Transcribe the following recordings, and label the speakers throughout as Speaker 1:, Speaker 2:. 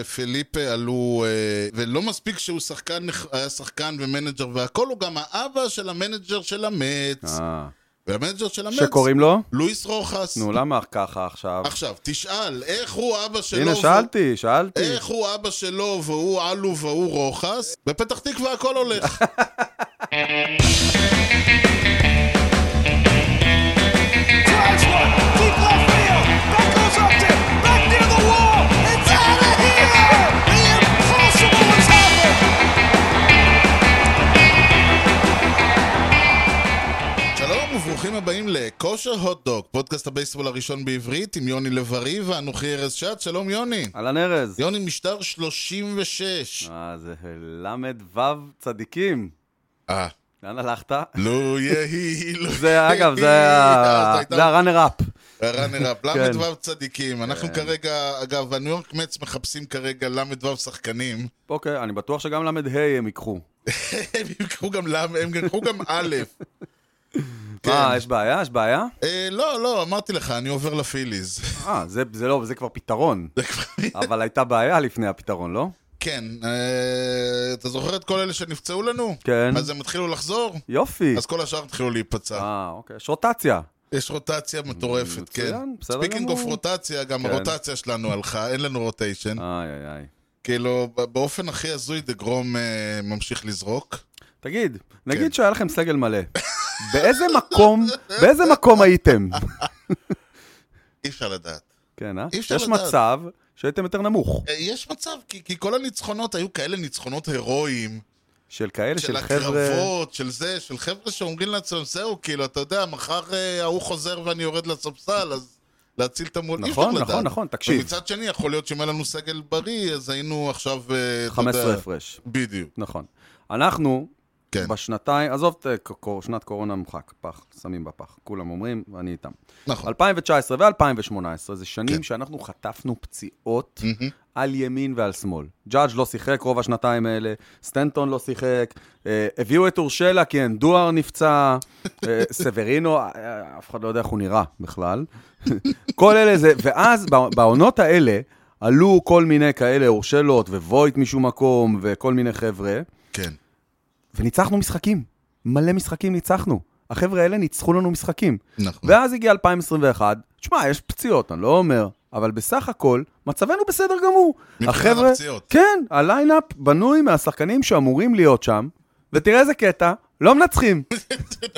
Speaker 1: לפליפה עלו, אה, ולא מספיק שהוא שחקן, נח- היה שחקן ומנג'ר והכל, הוא גם האבא של המנג'ר של המץ.
Speaker 2: אה,
Speaker 1: והמנג'ר של המץ,
Speaker 2: שקוראים לו?
Speaker 1: לואיס רוחס.
Speaker 2: נו, למה ככה עכשיו?
Speaker 1: עכשיו, תשאל, איך הוא אבא שלו? אה.
Speaker 2: הנה,
Speaker 1: והוא-
Speaker 2: שאלתי, שאלתי.
Speaker 1: איך הוא אבא שלו והוא עלו והוא רוחס? בפתח תקווה הכל הולך.
Speaker 3: drives one, deep left field. That goes up to back near the wall. It's out of here. The impossible has happened.
Speaker 1: שלום וברוכים הבאים לכושר הוטדוק, פודקאסט הבייסבול הראשון בעברית עם יוני לב-ארי ואנוכי ארז שץ. שלום יוני.
Speaker 2: אהלן ארז.
Speaker 1: יוני משטר 36.
Speaker 2: אה, זה ל"ו צדיקים.
Speaker 1: אה,
Speaker 2: לאן הלכת?
Speaker 1: לו לא יהי, לו יהי. אה,
Speaker 2: זה, אגב, זה
Speaker 1: אז
Speaker 2: ה-
Speaker 1: הייתה
Speaker 2: זה הראנר אפ.
Speaker 1: ראנר אפ,
Speaker 2: כן.
Speaker 1: ל"ו צדיקים. אנחנו כרגע, אגב, הניו יורק מצ מחפשים כרגע ל"ו שחקנים.
Speaker 2: אוקיי, אני בטוח שגם ל"ה הם ייקחו.
Speaker 1: הם יקחו גם ל', הם יקחו גם א'. כן.
Speaker 2: מה, יש בעיה? יש בעיה?
Speaker 1: אה, לא, לא, אמרתי לך, אני עובר לפיליז.
Speaker 2: אה, זה זה לא, זה כבר פתרון.
Speaker 1: זה כבר-
Speaker 2: אבל הייתה בעיה לפני הפתרון, לא?
Speaker 1: כן, אה, אתה זוכר את כל אלה שנפצעו לנו?
Speaker 2: כן.
Speaker 1: אז הם התחילו לחזור?
Speaker 2: יופי.
Speaker 1: אז כל השאר התחילו להיפצע.
Speaker 2: אה, אוקיי, יש רוטציה.
Speaker 1: יש רוטציה מטורפת, כן.
Speaker 2: מצוין, בסדר
Speaker 1: ספיקינג
Speaker 2: גמור.
Speaker 1: אוף רוטציה, גם
Speaker 2: כן.
Speaker 1: הרוטציה שלנו הלכה, אין לנו רוטיישן.
Speaker 2: איי, איי, איי.
Speaker 1: כאילו, ב- באופן הכי הזוי דגרום אה, ממשיך לזרוק.
Speaker 2: תגיד,
Speaker 1: כן.
Speaker 2: נגיד שהיה לכם סגל מלא. באיזה מקום, באיזה מקום הייתם?
Speaker 1: אי אפשר לדעת.
Speaker 2: כן, אה?
Speaker 1: אי אפשר
Speaker 2: יש
Speaker 1: לדעת.
Speaker 2: מצב שהייתם יותר נמוך.
Speaker 1: אה, יש מצב, כי, כי כל הניצחונות היו כאלה ניצחונות הירואיים.
Speaker 2: של כאלה,
Speaker 1: של
Speaker 2: של חבר'ה...
Speaker 1: הקרבות, של זה, של חבר'ה שאומרים לעצמם, זהו, כאילו, אתה יודע, מחר אה, ההוא חוזר ואני יורד לספסל, אז להציל את המול, אי אפשר
Speaker 2: נכון,
Speaker 1: לדעת.
Speaker 2: נכון, נכון, תקשיב.
Speaker 1: ומצד שני, יכול להיות שאם היה לנו סגל בריא, אז היינו עכשיו, אה, אתה יודע...
Speaker 2: 15 הפרש.
Speaker 1: בדיוק,
Speaker 2: נכון. אנחנו,
Speaker 1: כן,
Speaker 2: בשנתיים, עזוב, את, אה, קור- שנת קורונה מוחק, פח, שמים בפח. כולם אומרים, ואני איתם.
Speaker 1: נכון.
Speaker 2: 2019 ו-2018 זה שנים
Speaker 1: כן.
Speaker 2: שאנחנו חטפנו פציעות על ימין ועל שמאל. ג'אדג' לא שיחק רוב השנתיים האלה, סטנטון לא שיחק, אה, הביאו את אורשלה כי אנדואר נפצע, אה, סברינו, אה, אה, אף אחד לא יודע איך הוא נראה בכלל. כל אלה זה, ואז בע- בעונות האלה עלו כל מיני כאלה אורשלות וויט משום מקום וכל מיני חבר'ה.
Speaker 1: כן.
Speaker 2: וניצחנו משחקים. מלא משחקים ניצחנו. החבר'ה האלה ניצחו לנו משחקים.
Speaker 1: נכון.
Speaker 2: ואז הגיע 2021, תשמע, יש פציעות, אני לא אומר, אבל בסך הכל, מצבנו בסדר גמור.
Speaker 1: מבחינת הפציעות.
Speaker 2: כן, הליינאפ בנוי מהשחקנים שאמורים להיות שם, ותראה איזה קטע, לא מנצחים.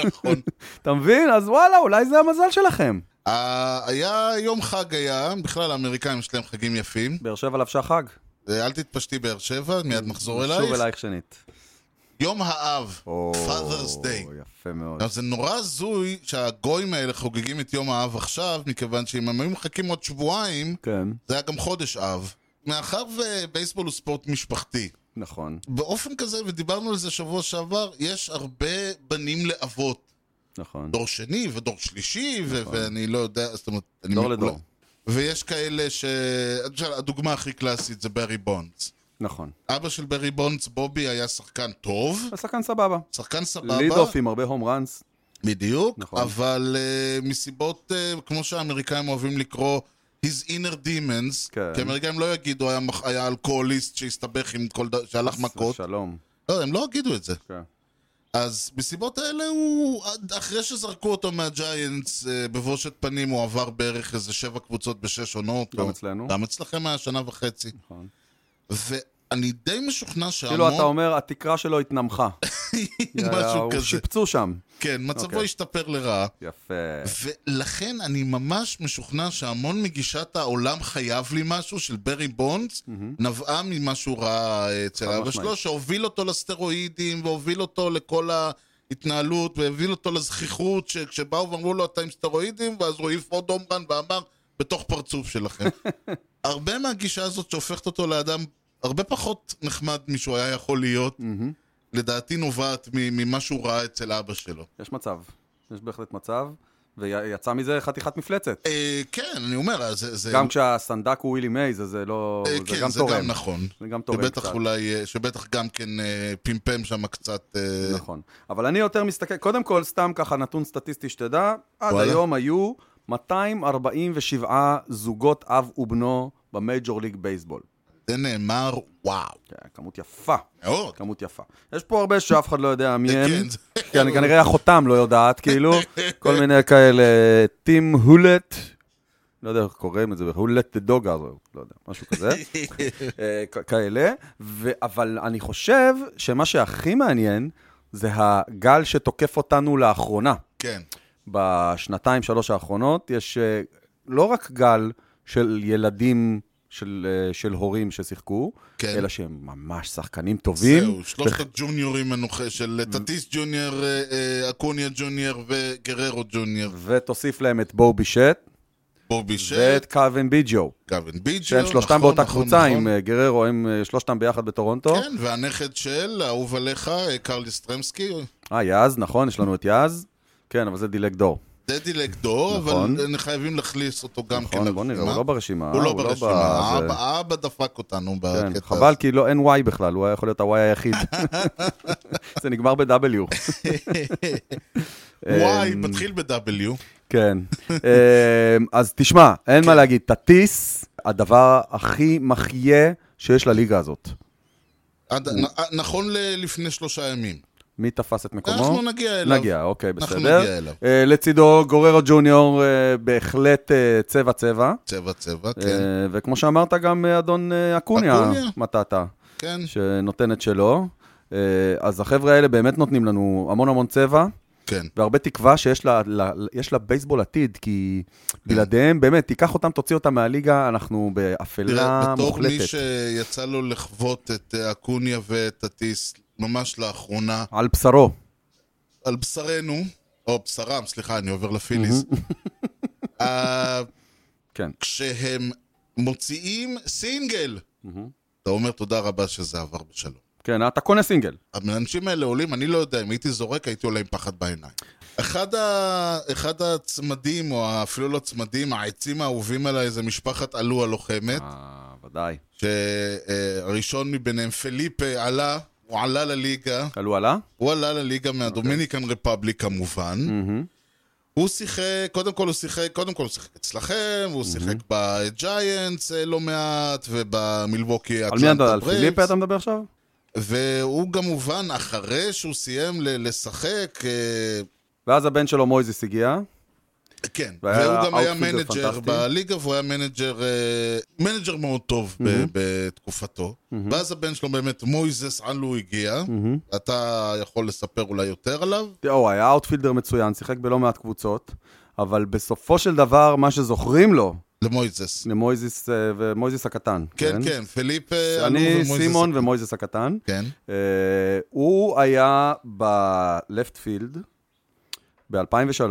Speaker 1: נכון.
Speaker 2: אתה מבין? אז וואלה, אולי זה המזל שלכם.
Speaker 1: אה, היה יום חג היה, בכלל האמריקאים יש להם חגים יפים.
Speaker 2: באר שבע לבשה חג.
Speaker 1: אה, אל תתפשטי באר שבע, מיד נחזור
Speaker 2: שוב
Speaker 1: אלייך.
Speaker 2: אלייך שנית.
Speaker 1: יום האב, Father's Day.
Speaker 2: יפה מאוד.
Speaker 1: עכשיו, זה נורא הזוי שהגויים האלה חוגגים את יום האב עכשיו, מכיוון שאם הם היו מחכים עוד שבועיים,
Speaker 2: כן,
Speaker 1: זה היה גם חודש אב. מאחר ובייסבול הוא ספורט משפחתי,
Speaker 2: נכון,
Speaker 1: באופן כזה, ודיברנו על זה שבוע שעבר, יש הרבה בנים לאבות.
Speaker 2: נכון.
Speaker 1: דור שני ודור שלישי, ו- ואני לא יודע, זאת אומרת... אני
Speaker 2: דור
Speaker 1: מכולם.
Speaker 2: לדור.
Speaker 1: ויש כאלה ש... למשל, הדוגמה הכי קלאסית זה ברי בונדס.
Speaker 2: נכון.
Speaker 1: אבא של ברי בונדס, בובי, היה שחקן טוב,
Speaker 2: השחקן סבבה.
Speaker 1: שחקן סבבה.
Speaker 2: ליד אוף עם הרבה הום ראנס.
Speaker 1: בדיוק,
Speaker 2: נכון.
Speaker 1: נכון. אבל uh, מסיבות, uh, כמו שהאמריקאים אוהבים לקרוא, his inner demons,
Speaker 2: כן.
Speaker 1: כי האמריקאים לא יגידו, היה, מח- היה אלכוהוליסט שהסתבך עם כל דבר, שהלך מכות,
Speaker 2: שלום.
Speaker 1: לא, הם לא יגידו את זה.
Speaker 2: כן.
Speaker 1: אז מסיבות האלה הוא, עד- אחרי שזרקו אותו מהג'יינטס uh, בבושת פנים, הוא עבר בערך איזה שבע קבוצות בשש עונות.
Speaker 2: גם
Speaker 1: או-
Speaker 2: אצלנו.
Speaker 1: גם אצלכם היה שנה וחצי.
Speaker 2: נכון.
Speaker 1: ואני די משוכנע שהמון...
Speaker 2: כאילו אתה אומר, התקרה שלו התנמכה.
Speaker 1: משהו
Speaker 2: הוא
Speaker 1: כזה.
Speaker 2: שיפצו שם.
Speaker 1: כן, מצבו
Speaker 2: אוקיי.
Speaker 1: השתפר לרעה.
Speaker 2: יפה.
Speaker 1: ולכן אני ממש משוכנע שהמון מגישת העולם חייב לי משהו של ברי בונדס נבעה ממה שהוא ראה אצל
Speaker 2: Mm-hmm. חד
Speaker 1: אבא שלו,
Speaker 2: משמעית.
Speaker 1: שהוביל אותו לסטרואידים, והוביל אותו לכל ההתנהלות, והוביל אותו לזכיחות, שכשבאו ואמרו לו אתה עם סטרואידים, ואז הוא העיף עוד אומרן ואמר, בתוך פרצוף שלכם. הרבה מהגישה הזאת שהופכת אותו לאדם הרבה פחות נחמד משהוא היה יכול להיות,
Speaker 2: מהמם.
Speaker 1: לדעתי נובעת מ- ממה שהוא ראה אצל אבא שלו.
Speaker 2: יש מצב. יש בהחלט מצב, ויצא מזה חתיכת מפלצת.
Speaker 1: אה, כן, אני אומר, אז זה... זה-
Speaker 2: גם כשהסנדק הוא ווילי מייז, אז זה לא...
Speaker 1: אה,
Speaker 2: זה
Speaker 1: כן,
Speaker 2: גם
Speaker 1: זה
Speaker 2: תורם.
Speaker 1: גם נכון.
Speaker 2: זה גם תורם
Speaker 1: שבטח
Speaker 2: קצת.
Speaker 1: אולי, אה, שבטח גם כן אה, פמפם שם קצת... אה,
Speaker 2: נכון. אבל אני יותר מסתכל, קודם כל, סתם ככה נתון סטטיסטי שתדע, עד
Speaker 1: וואלה.
Speaker 2: היום היו 247 זוגות אב ובנו במייג'ור ליג בייסבול.
Speaker 1: זה נאמר וואו.
Speaker 2: כן, כמות יפה,
Speaker 1: מאוד.
Speaker 2: כמות יפה. יש פה הרבה שאף אחד לא יודע מי הם.
Speaker 1: כן, זה-
Speaker 2: כן, אני כנראה אחותם לא יודעת, כאילו, כל מיני כאלה, טים הולט, לא יודע איך קוראים את זה, הולט דוגה, לא יודע, משהו כזה, אה, כ- כאלה, ו- אבל אני חושב שמה שהכי מעניין זה הגל שתוקף אותנו לאחרונה.
Speaker 1: כן.
Speaker 2: בשנתיים, שלוש האחרונות, יש אה, לא רק גל של ילדים, של, אה, של הורים ששיחקו,
Speaker 1: כן.
Speaker 2: אלא שהם ממש שחקנים טובים.
Speaker 1: זהו, שלושת הג'וניורים מנוחה של טטיס ג'וניור, אה, אה, אקוניה ג'וניור וגררו ג'וניור.
Speaker 2: ותוסיף להם את בובי שט,
Speaker 1: בובי שט,
Speaker 2: ואת קלווין ביג'ו,
Speaker 1: גווין ביג'ו.
Speaker 2: שהם שלושתם
Speaker 1: נכון,
Speaker 2: באותה
Speaker 1: נכון,
Speaker 2: קבוצה
Speaker 1: נכון.
Speaker 2: עם אה, גררו, הם אה, שלושתם ביחד בטורונטו.
Speaker 1: כן, והנכד של, האהוב עליך, אה, קרלי סטרמסקי,
Speaker 2: אה, יאז, נכון, יש לנו את יאז. כן, אבל זה דילג דור.
Speaker 1: זה דילקדור,
Speaker 2: נכון.
Speaker 1: אבל אה, חייבים להכניס אותו גם כן.
Speaker 2: נכון, בוא נראה, הוא
Speaker 1: לרשימה.
Speaker 2: לא ברשימה.
Speaker 1: הוא לא
Speaker 2: ב-
Speaker 1: ברשימה,
Speaker 2: זה-
Speaker 1: האבא- האבא דפק אותנו
Speaker 2: כן,
Speaker 1: בקטע.
Speaker 2: חבל, כי לא, אין Y בכלל, הוא היה יכול להיות ה-Y היחיד. זה נגמר ב-W.
Speaker 1: וואי,
Speaker 2: אמ-
Speaker 1: מתחיל ב-W.
Speaker 2: כן. אמ, אז תשמע, אין
Speaker 1: כן.
Speaker 2: מה להגיד, תטיס, הדבר הכי מחיה שיש לליגה הזאת.
Speaker 1: עד- נ- נכון ל- לפני שלושה ימים.
Speaker 2: מי תפס את מקומו?
Speaker 1: אנחנו נגיע אליו.
Speaker 2: נגיע, אוקיי,
Speaker 1: אנחנו
Speaker 2: בסדר.
Speaker 1: נגיע אליו.
Speaker 2: אה, לצידו, גוררו ג'וניור, אה, בהחלט אה, צבע-צבע.
Speaker 1: צבע צבע,
Speaker 2: אה,
Speaker 1: כן.
Speaker 2: וכמו שאמרת, גם אה, אדון אה, אקוניה
Speaker 1: אקוניה.
Speaker 2: מטעת,
Speaker 1: כן,
Speaker 2: שנותן את שלו. אה, אז החבר'ה האלה באמת נותנים לנו המון המון צבע.
Speaker 1: כן.
Speaker 2: והרבה תקווה שיש לה, לה, יש לה בייסבול עתיד, כי
Speaker 1: כן.
Speaker 2: בלעדיהם, באמת, תיקח אותם, תוציא אותם מהליגה, אנחנו באפלה
Speaker 1: תראה, בתור מי
Speaker 2: מוחלטת. ש...
Speaker 1: שיצא לו לחוות את אה, אקוניה ואת הטיס ממש לאחרונה,
Speaker 2: על בשרו.
Speaker 1: על בשרנו, או בשרם, סליחה, אני עובר לפיליס. אה,
Speaker 2: כן.
Speaker 1: כשהם מוציאים סינגל, אתה אומר תודה רבה שזה עבר בשלום.
Speaker 2: כן, אתה קונה סינגל.
Speaker 1: האנשים האלה עולים, אני לא יודע, אם הייתי זורק, הייתי עולה עם פחד בעיניים. אחד, ה... אחד הצמדים, או אפילו לא צמדים, העצים האהובים עליי זה משפחת עלו הלוחמת,
Speaker 2: אה, ודאי.
Speaker 1: שהראשון מביניהם, פליפה, עלה, הוא עלה לליגה,
Speaker 2: עלו עלה?
Speaker 1: הוא עלה לליגה מהדומיניקן
Speaker 2: אוקיי.
Speaker 1: רפבליק כמובן.
Speaker 2: מהמם.
Speaker 1: הוא שיחק, קודם כל הוא שיחק, קודם כל הוא שיחק אצלכם,
Speaker 2: Mm-hmm.
Speaker 1: הוא שיחק בג'יינטס אה, לא מעט, ובמילווקי
Speaker 2: על מי אתה,
Speaker 1: אטלנטה
Speaker 2: על פיליפה אתה מדבר עכשיו?
Speaker 1: והוא כמובן, אחרי שהוא סיים ל- לשחק, אה,
Speaker 2: ואז הבן שלו מויזס הגיע.
Speaker 1: כן,
Speaker 2: והיה
Speaker 1: והוא גם היה
Speaker 2: אאוטפילדר
Speaker 1: מנג'ר
Speaker 2: פנטסטי.
Speaker 1: בליגה, והוא היה מנג'ר, אה, מנג'ר מאוד טוב ב- בתקופתו. ואז הבן שלו באמת, מויזס עלו הגיע, אתה יכול לספר אולי יותר עליו?
Speaker 2: תראה, הוא היה אאוטפילדר מצוין, שיחק בלא מעט קבוצות, אבל בסופו של דבר, מה שזוכרים לו,
Speaker 1: למויזס.
Speaker 2: זה מויזס אה, ומויזס הקטן.
Speaker 1: כן, כן, פליפה, עלו
Speaker 2: אני,
Speaker 1: ומויזס-
Speaker 2: סימון ומויזס הקטן.
Speaker 1: כן,
Speaker 2: אה, הוא היה בלפט פילד ב-2003,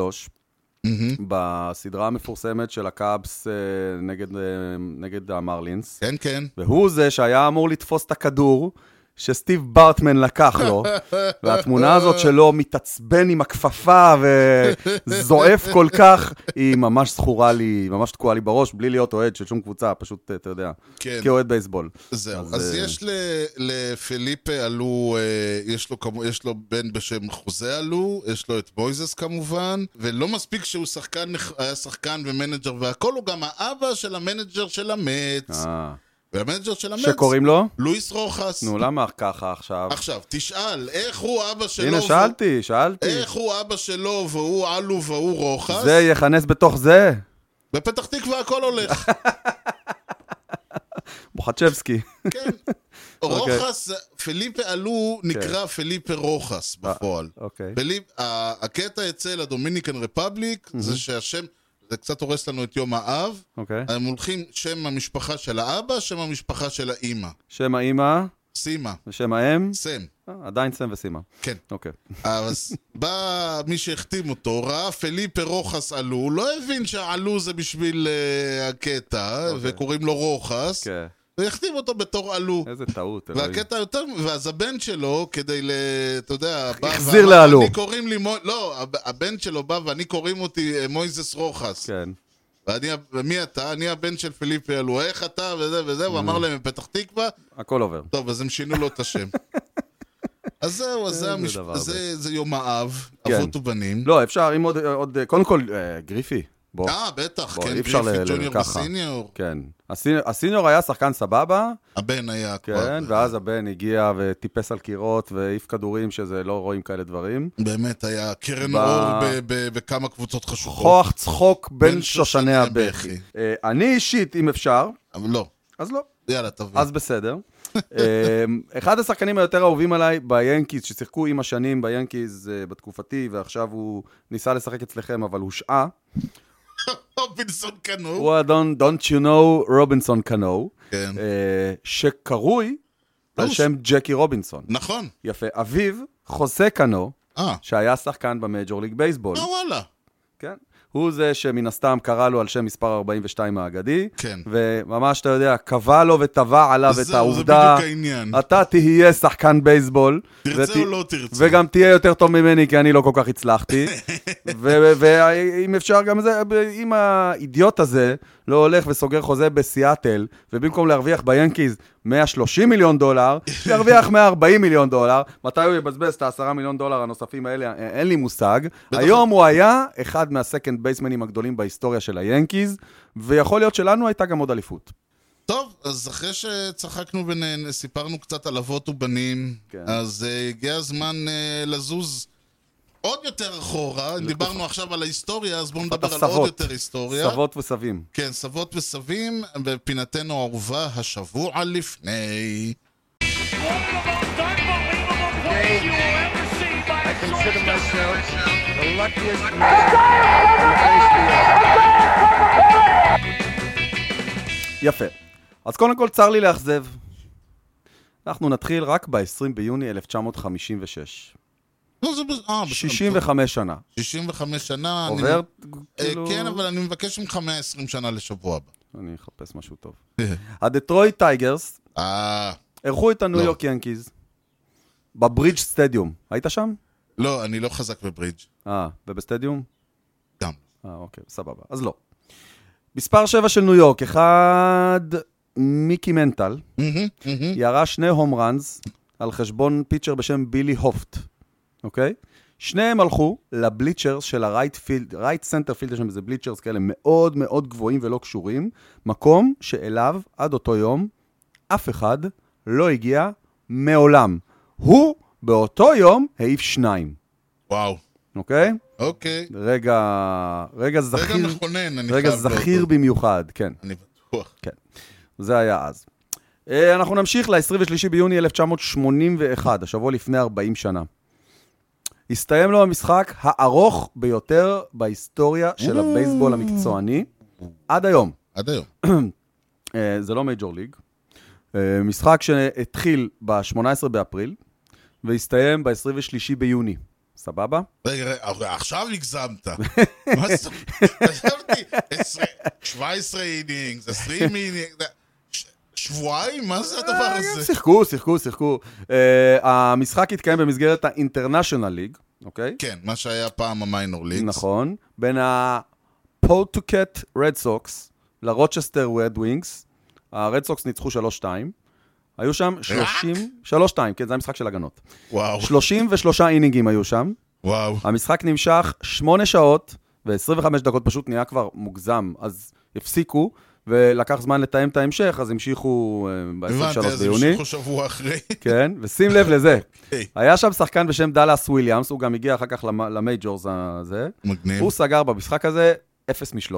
Speaker 1: מהמם.
Speaker 2: בסדרה המפורסמת של הקאבס אה, נגד, אה, נגד המרלינס,
Speaker 1: כן, כן.
Speaker 2: והוא זה שהיה אמור לתפוס את הכדור. שסטיב בארטמן לקח לו, והתמונה הזאת שלו מתעצבן עם הכפפה וזועף כל כך, היא ממש זכורה לי, היא ממש תקועה לי בראש, בלי להיות אוהד של שום קבוצה, פשוט, אה, אתה יודע,
Speaker 1: כן.
Speaker 2: כאוהד בייסבול.
Speaker 1: זהו,
Speaker 2: אז,
Speaker 1: אז
Speaker 2: אה,
Speaker 1: יש ל- לפליפה עלו, אה, יש לו כמו- יש לו בן בשם חוזה עלו, יש לו את מויזס כמובן, ולא מספיק שהוא שחקן, נכ- היה שחקן ומנג'ר והכל, הוא גם האבא של המנג'ר של המץ,
Speaker 2: אה,
Speaker 1: והמנג'ר של המץ,
Speaker 2: שקוראים לו?
Speaker 1: לואיס רוחס.
Speaker 2: נו, לא. למה ככה עכשיו?
Speaker 1: עכשיו, תשאל, איך הוא אה, אבא שלו,
Speaker 2: הנה,
Speaker 1: והוא-
Speaker 2: שאלתי, שאלתי.
Speaker 1: איך הוא אבא שלו והוא עלו והוא רוחס,
Speaker 2: זה יכנס בתוך זה?
Speaker 1: בפתח תקווה הכל הולך,
Speaker 2: מוחצ'בסקי.
Speaker 1: כן.
Speaker 2: אוקיי.
Speaker 1: רוחס, פליפה עלו נקרא
Speaker 2: כן.
Speaker 1: פליפה רוחס בפועל.
Speaker 2: אוקיי.
Speaker 1: בלי, ה- הקטע אצל הדומיניקן רפבליק זה שהשם, זה קצת הורס לנו את יום האב,
Speaker 2: אוקיי.
Speaker 1: הם הולכים שם המשפחה של האבא, שם המשפחה של האימא.
Speaker 2: שם האימא
Speaker 1: סימה,
Speaker 2: ושם האם?
Speaker 1: סם,
Speaker 2: אה, עדיין סם וסימה.
Speaker 1: כן.
Speaker 2: אוקיי.
Speaker 1: אז בא מי שהחתים אותו, ראה פליפה רוחס עלו, הוא לא הבין שהעלו זה בשביל אה, הקטע, וקוראים לו רוחס,
Speaker 2: אוקיי. כן.
Speaker 1: והחתים אותו בתור עלו.
Speaker 2: איזה טעות, אלוהים.
Speaker 1: והקטע יותר, ואז הבן שלו, כדי ל... אתה יודע, בא
Speaker 2: החזיר
Speaker 1: ואמר,
Speaker 2: לאלו.
Speaker 1: אני קוראים לי מו... לא, הב- הבן שלו בא ואני קוראים אותי אה, מויזס רוחס.
Speaker 2: כן.
Speaker 1: ואני, ה- ומי אתה? אני הבן של פיליפי אלו. איך אתה? וזה וזה,
Speaker 2: אה.
Speaker 1: הוא אמר להם מפתח תקווה.
Speaker 2: הכל עובר.
Speaker 1: טוב, אז הם שינו לו את השם. אז זהו, אז זה,
Speaker 2: איזה
Speaker 1: המש...
Speaker 2: דבר
Speaker 1: זה, זה יום האב,
Speaker 2: כן.
Speaker 1: אבות ובנים.
Speaker 2: לא, אפשר, אם עוד- עוד... קודם כל, אה, גריפי. בוא.
Speaker 1: אה, בטח,
Speaker 2: בוא,
Speaker 1: כן,
Speaker 2: אי אפשר
Speaker 1: גריפיט
Speaker 2: ל- ל-
Speaker 1: ג'וניור
Speaker 2: ככה.
Speaker 1: וסיניור.
Speaker 2: כן. הסינ- הסיניור היה שחקן סבבה,
Speaker 1: הבן היה כבר.
Speaker 2: כן, ואז הבן הגיע וטיפס על קירות והעיף כדורים שזה לא רואים כאלה דברים.
Speaker 1: באמת היה קרן
Speaker 2: ב-
Speaker 1: אור ב- ב- בכמה קבוצות חשוכות.
Speaker 2: כוח צחוק בין
Speaker 1: אה. בין
Speaker 2: שושני
Speaker 1: שושני
Speaker 2: הבכי.
Speaker 1: הבכי.
Speaker 2: אה, אני אישית, אם אפשר,
Speaker 1: אבל לא,
Speaker 2: אז לא,
Speaker 1: יאללה, תביא.
Speaker 2: אז בסדר. אה, אחד השחקנים היותר אהובים עליי ביאנקיז, ששיחקו עם השנים ביאנקיז אה, בתקופתי, ועכשיו הוא ניסה לשחק אצלכם, אבל הושעה,
Speaker 1: רובינסון קנו.
Speaker 2: הוא האדון Don't You Know רובינסון קנו,
Speaker 1: כן.
Speaker 2: אה, שקרוי
Speaker 1: לא,
Speaker 2: על
Speaker 1: הוא-
Speaker 2: שם ג'קי רובינסון.
Speaker 1: נכון.
Speaker 2: יפה. אביו, חוסה קנו,
Speaker 1: אה,
Speaker 2: שהיה שחקן במייג'ור ליג בייסבול,
Speaker 1: אה, וואלה.
Speaker 2: כן? הוא זה שמן הסתם קרא לו על שם מספר 42 האגדי,
Speaker 1: כן.
Speaker 2: וממש, אתה יודע, קבע לו וטבע עליו את
Speaker 1: זהו, זה
Speaker 2: העובדה, אה,
Speaker 1: בדיוק העניין.
Speaker 2: אתה תהיה שחקן בייסבול.
Speaker 1: תרצה
Speaker 2: ות-
Speaker 1: או לא תרצה.
Speaker 2: וגם תהיה יותר טוב ממני, כי אני לא כל כך הצלחתי. ואם אפשר גם זה, ב- אם האידיוט הזה לא הולך וסוגר חוזה בסיאטל, ובמקום להרוויח ביאנקיז 130 מיליון דולר, ירוויח 140 מיליון דולר, מתי הוא יבזבז את ה-10 מיליון דולר הנוספים האלה? א- אין לי מושג. היום הוא היה אחד מהסקנד בייסמנים הגדולים בהיסטוריה של היאנקיז, ויכול להיות שלנו הייתה גם עוד אליפות.
Speaker 1: טוב, אז אחרי שצחקנו וסיפרנו קצת על אבות ובנים,
Speaker 2: כן.
Speaker 1: אז אה, הגיע הזמן אה, לזוז עוד יותר אחורה. אם דיברנו עכשיו על ההיסטוריה, אז בואו נדבר על עוד
Speaker 2: הסבות.
Speaker 1: יותר היסטוריה.
Speaker 2: סבות וסבים.
Speaker 1: כן, סבות וסבים, בפינתנו האהובה, השבוע לפני.
Speaker 4: I consider myself the luckiest man.
Speaker 2: יפה. אז קודם כל, צר לי לאכזב. אנחנו נתחיל רק ב-20 ביוני 1956.
Speaker 1: לא, זה בס- אה, בסדר.
Speaker 2: 65 שנה.
Speaker 1: 65 שנה. אני-
Speaker 2: עובר,
Speaker 1: אה,
Speaker 2: כאילו...
Speaker 1: כן, אבל אני מבקש ממך 120 שנה לשבוע הבא.
Speaker 2: אני אחפש משהו טוב.
Speaker 1: אה.
Speaker 2: הדטרויט טייגרס
Speaker 1: אה...
Speaker 2: אירחו את הניו
Speaker 1: לא.
Speaker 2: יורק ינקיז בברידג' סטדיום. היית שם?
Speaker 1: לא, אני לא חזק בברידג'.
Speaker 2: אה, ובסטדיום?
Speaker 1: גם.
Speaker 2: אה, אוקיי, סבבה. אז לא. מספר 7 של ניו יורק, אחד מיקי מנטל,
Speaker 1: מהמם, מהמם.
Speaker 2: ירה שני הום ראנס על חשבון פיצ'ר בשם בילי הופט, אוקיי? שניהם הלכו לבליצ'רס של הרייט פילד, רייט סנטר פילד, יש שם איזה בליצ'רס כאלה מאוד מאוד גבוהים ולא קשורים, מקום שאליו עד אותו יום אף אחד לא הגיע מעולם. הוא באותו יום העיף שניים,
Speaker 1: וואו.
Speaker 2: אוקיי?
Speaker 1: אוקיי.
Speaker 2: רגע, רגע
Speaker 1: רגע
Speaker 2: זכיר,
Speaker 1: מכונן, אני חייב...
Speaker 2: רגע
Speaker 1: להודות.
Speaker 2: זכיר במיוחד, כן.
Speaker 1: אני בטוח.
Speaker 2: זה היה אז. אה, אנחנו נמשיך ל-23 ביוני 1981, השבוע לפני 40 שנה. הסתיים לו המשחק הארוך ביותר בהיסטוריה של הבייסבול המקצועני עד היום.
Speaker 1: עד היום.
Speaker 2: אה, זה לא מייג'ור ליג. אה, משחק שהתחיל ב-18 באפריל והסתיים ב-23 ביוני. סבבה?
Speaker 1: רגע, רגע, אבל עכשיו הגזמת. מה זאת אומרת? חשבתי, עשרה- 17 אינינגס, 20 אינינגס, ש- שבועיים? מה זה הדבר
Speaker 2: אה,
Speaker 1: הזה?
Speaker 2: שיחקו, שיחקו, שיחקו. אה, המשחק התקיים במסגרת ה-International League, אוקיי?
Speaker 1: כן, מה שהיה פעם המיינור ליגס.
Speaker 2: נכון, בין הפוטוקט רד סוקס לרוצ'סטר רד ווינגס. הרד סוקס ניצחו 3-2. היו שם 30... 3-2, כן, זה המשחק של הגנות.
Speaker 1: וואו,
Speaker 2: 33 אינינגים היו שם.
Speaker 1: וואו.
Speaker 2: המשחק נמשך 8 שעות ו-25 דקות, פשוט נהיה כבר מוגזם, אז הפסיקו, ולקח זמן לתאם את ההמשך, אז המשיכו
Speaker 1: הבנתי,
Speaker 2: ב-23
Speaker 1: אז
Speaker 2: ביוני.
Speaker 1: המשיכו שבוע אחרי.
Speaker 2: כן, ושים לב לזה.
Speaker 1: אוקיי.
Speaker 2: היה שם שחקן בשם דאלאס וויליאמס, הוא גם הגיע אחר כך למ- למייג'ורס הזה.
Speaker 1: מגניב.
Speaker 2: הוא סגר במשחק הזה 0 מ-13.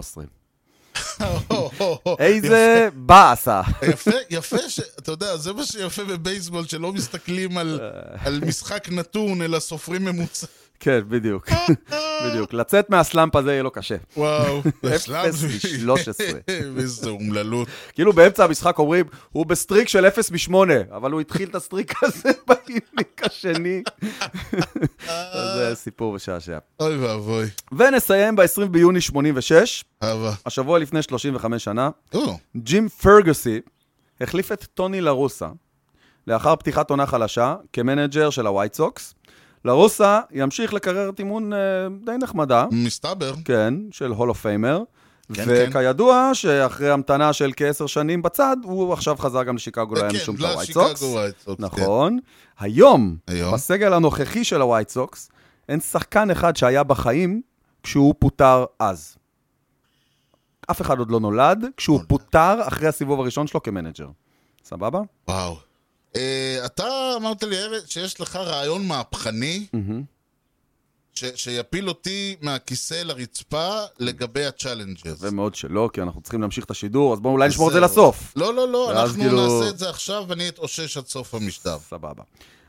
Speaker 1: הו, הו, הו.
Speaker 2: איזה באסה.
Speaker 1: יפה, יפה, ש- אתה יודע, זה מה שיפה בבייסבול, שלא מסתכלים על- על משחק נתון, אלא סופרים ממוצע.
Speaker 2: כן, בדיוק. בדיוק. לצאת מהסלאמפ הזה יהיה לו קשה.
Speaker 1: וואו, זה
Speaker 2: אפס
Speaker 1: שלב
Speaker 2: מ-13.
Speaker 1: איזה אומללות.
Speaker 2: כאילו באמצע המשחק אומרים, הוא בסטריק של 0 מ-8, אבל הוא התחיל את הסטריק הזה באינינג השני. אז זה סיפור משעשע.
Speaker 1: אוי ואבוי.
Speaker 2: ונסיים ב-20 ביוני 86,
Speaker 1: הווה.
Speaker 2: השבוע לפני 35 שנה,
Speaker 1: או,
Speaker 2: ג'ים פרגוסי החליף את טוני לרוסה לאחר פתיחת עונה חלשה כמנג'ר של הווייט סוקס. לרוסה ימשיך לקררת אימון אה, די נחמדה,
Speaker 1: מסתבר.
Speaker 2: כן, של הולו פיימר.
Speaker 1: Mm. כן,
Speaker 2: וכידוע שאחרי המתנה של כעשר שנים בצד, הוא עכשיו חזר גם לשיקגו לא
Speaker 1: אה,
Speaker 2: להם
Speaker 1: כן,
Speaker 2: משום
Speaker 1: לא
Speaker 2: את הווייט סוקס.
Speaker 1: ווייטסוקס.
Speaker 2: נכון. היום,
Speaker 1: כן. היום.
Speaker 2: בסגל הנוכחי של הווייט סוקס, אין שחקן אחד שהיה בחיים כשהוא פוטר אז. אף אחד עוד לא נולד, כשהוא פוטר אחרי הסיבוב הראשון שלו כמנג'ר. סבבה?
Speaker 1: כן. וואו. אה, אתה אמרת לי, ארז, שיש לך רעיון מהפכני, ש- שיפיל אותי מהכיסא לרצפה לגבי הצ'אלנג'רס.
Speaker 2: זה מאוד שלא, כי אנחנו צריכים להמשיך את השידור, אז בואו אולי נשמור את זה
Speaker 1: זהו.
Speaker 2: לסוף.
Speaker 1: לא, לא, לא,
Speaker 2: ואז
Speaker 1: אנחנו
Speaker 2: כאילו-
Speaker 1: נעשה את זה עכשיו, ואני אתאושש עד סוף המשדר.
Speaker 2: סבבה.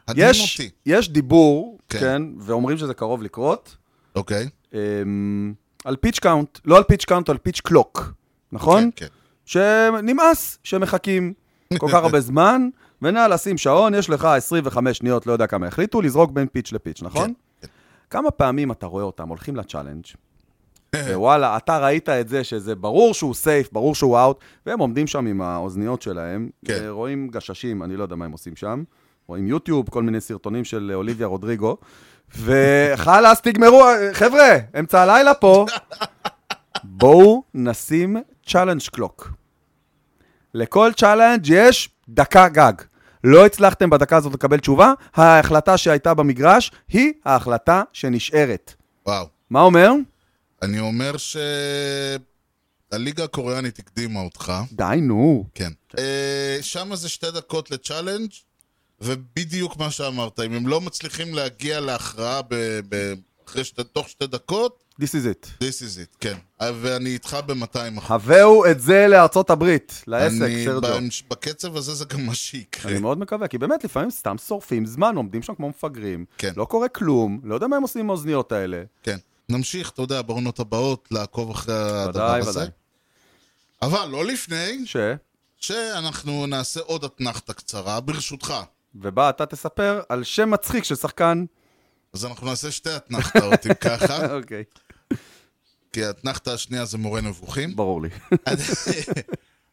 Speaker 1: הדהים
Speaker 2: יש,
Speaker 1: לא. אותי.
Speaker 2: יש דיבור,
Speaker 1: כן.
Speaker 2: כן, ואומרים שזה קרוב לקרות,
Speaker 1: אוקיי?
Speaker 2: אמ, על פיץ' קאונט, לא על פיץ' קאונט, על פיץ' קלוק, נכון?
Speaker 1: כן, כן.
Speaker 2: שנמאס שמחכים כל כך הרבה זמן, ונא לשים שעון, יש לך 25 שניות, לא יודע כמה החליטו, לזרוק בין פיץ' לפיץ', נכון?
Speaker 1: כן,
Speaker 2: כמה פעמים אתה רואה אותם הולכים לצ'אלנג', ווואלה, אתה ראית את זה שזה ברור שהוא סייף, ברור שהוא אאוט, והם עומדים שם עם האוזניות שלהם,
Speaker 1: כן.
Speaker 2: רואים גששים, אני לא יודע מה הם עושים שם, רואים יוטיוב, כל מיני סרטונים של אה, אוליביה רודריגו, וחלאס, תגמרו, אה, חבר'ה, אמצע הלילה פה. בואו נשים צ'אלנג' קלוק. לכל צ'אלנג' יש דקה גג. לא הצלחתם בדקה הזאת לקבל תשובה, ההחלטה שהייתה במגרש היא ההחלטה שנשארת.
Speaker 1: וואו.
Speaker 2: מה אומר?
Speaker 1: אני אומר שהליגה הקוריאנית הקדימה אותך.
Speaker 2: די, נו.
Speaker 1: כן. שם זה שתי דקות לצ'אלנג', ובדיוק מה שאמרת, אם הם לא מצליחים להגיע להכרעה ב- ב- אחרי שתי- תוך שתי דקות,
Speaker 2: This is it.
Speaker 1: this is it, כן. אה, ואני איתך ב-200 אחוז.
Speaker 2: הביאו את זה לארצות הברית, לעסק,
Speaker 1: אני-
Speaker 2: סרג'ו.
Speaker 1: בהמש- בקצב הזה זה גם מה שיקרה.
Speaker 2: אה, אני מאוד מקווה, כי באמת לפעמים סתם שורפים זמן, עומדים שם כמו מפגרים,
Speaker 1: כן.
Speaker 2: לא קורה כלום, לא יודע מה הם עושים עם האוזניות האלה.
Speaker 1: כן. נמשיך, אתה יודע, בעונות הבאות, לעקוב אחרי הדבר
Speaker 2: ודאי,
Speaker 1: הזה.
Speaker 2: ודאי.
Speaker 1: אבל לא לפני
Speaker 2: ש...
Speaker 1: שאנחנו נעשה עוד אתנחתא קצרה, ברשותך.
Speaker 2: ובה אתה תספר על שם מצחיק של שחקן.
Speaker 1: אז אנחנו נעשה שתי אתנחתאות, אם ככה,
Speaker 2: אוקיי.
Speaker 1: כי האתנחתא השנייה זה מורה נבוכים.
Speaker 2: ברור לי.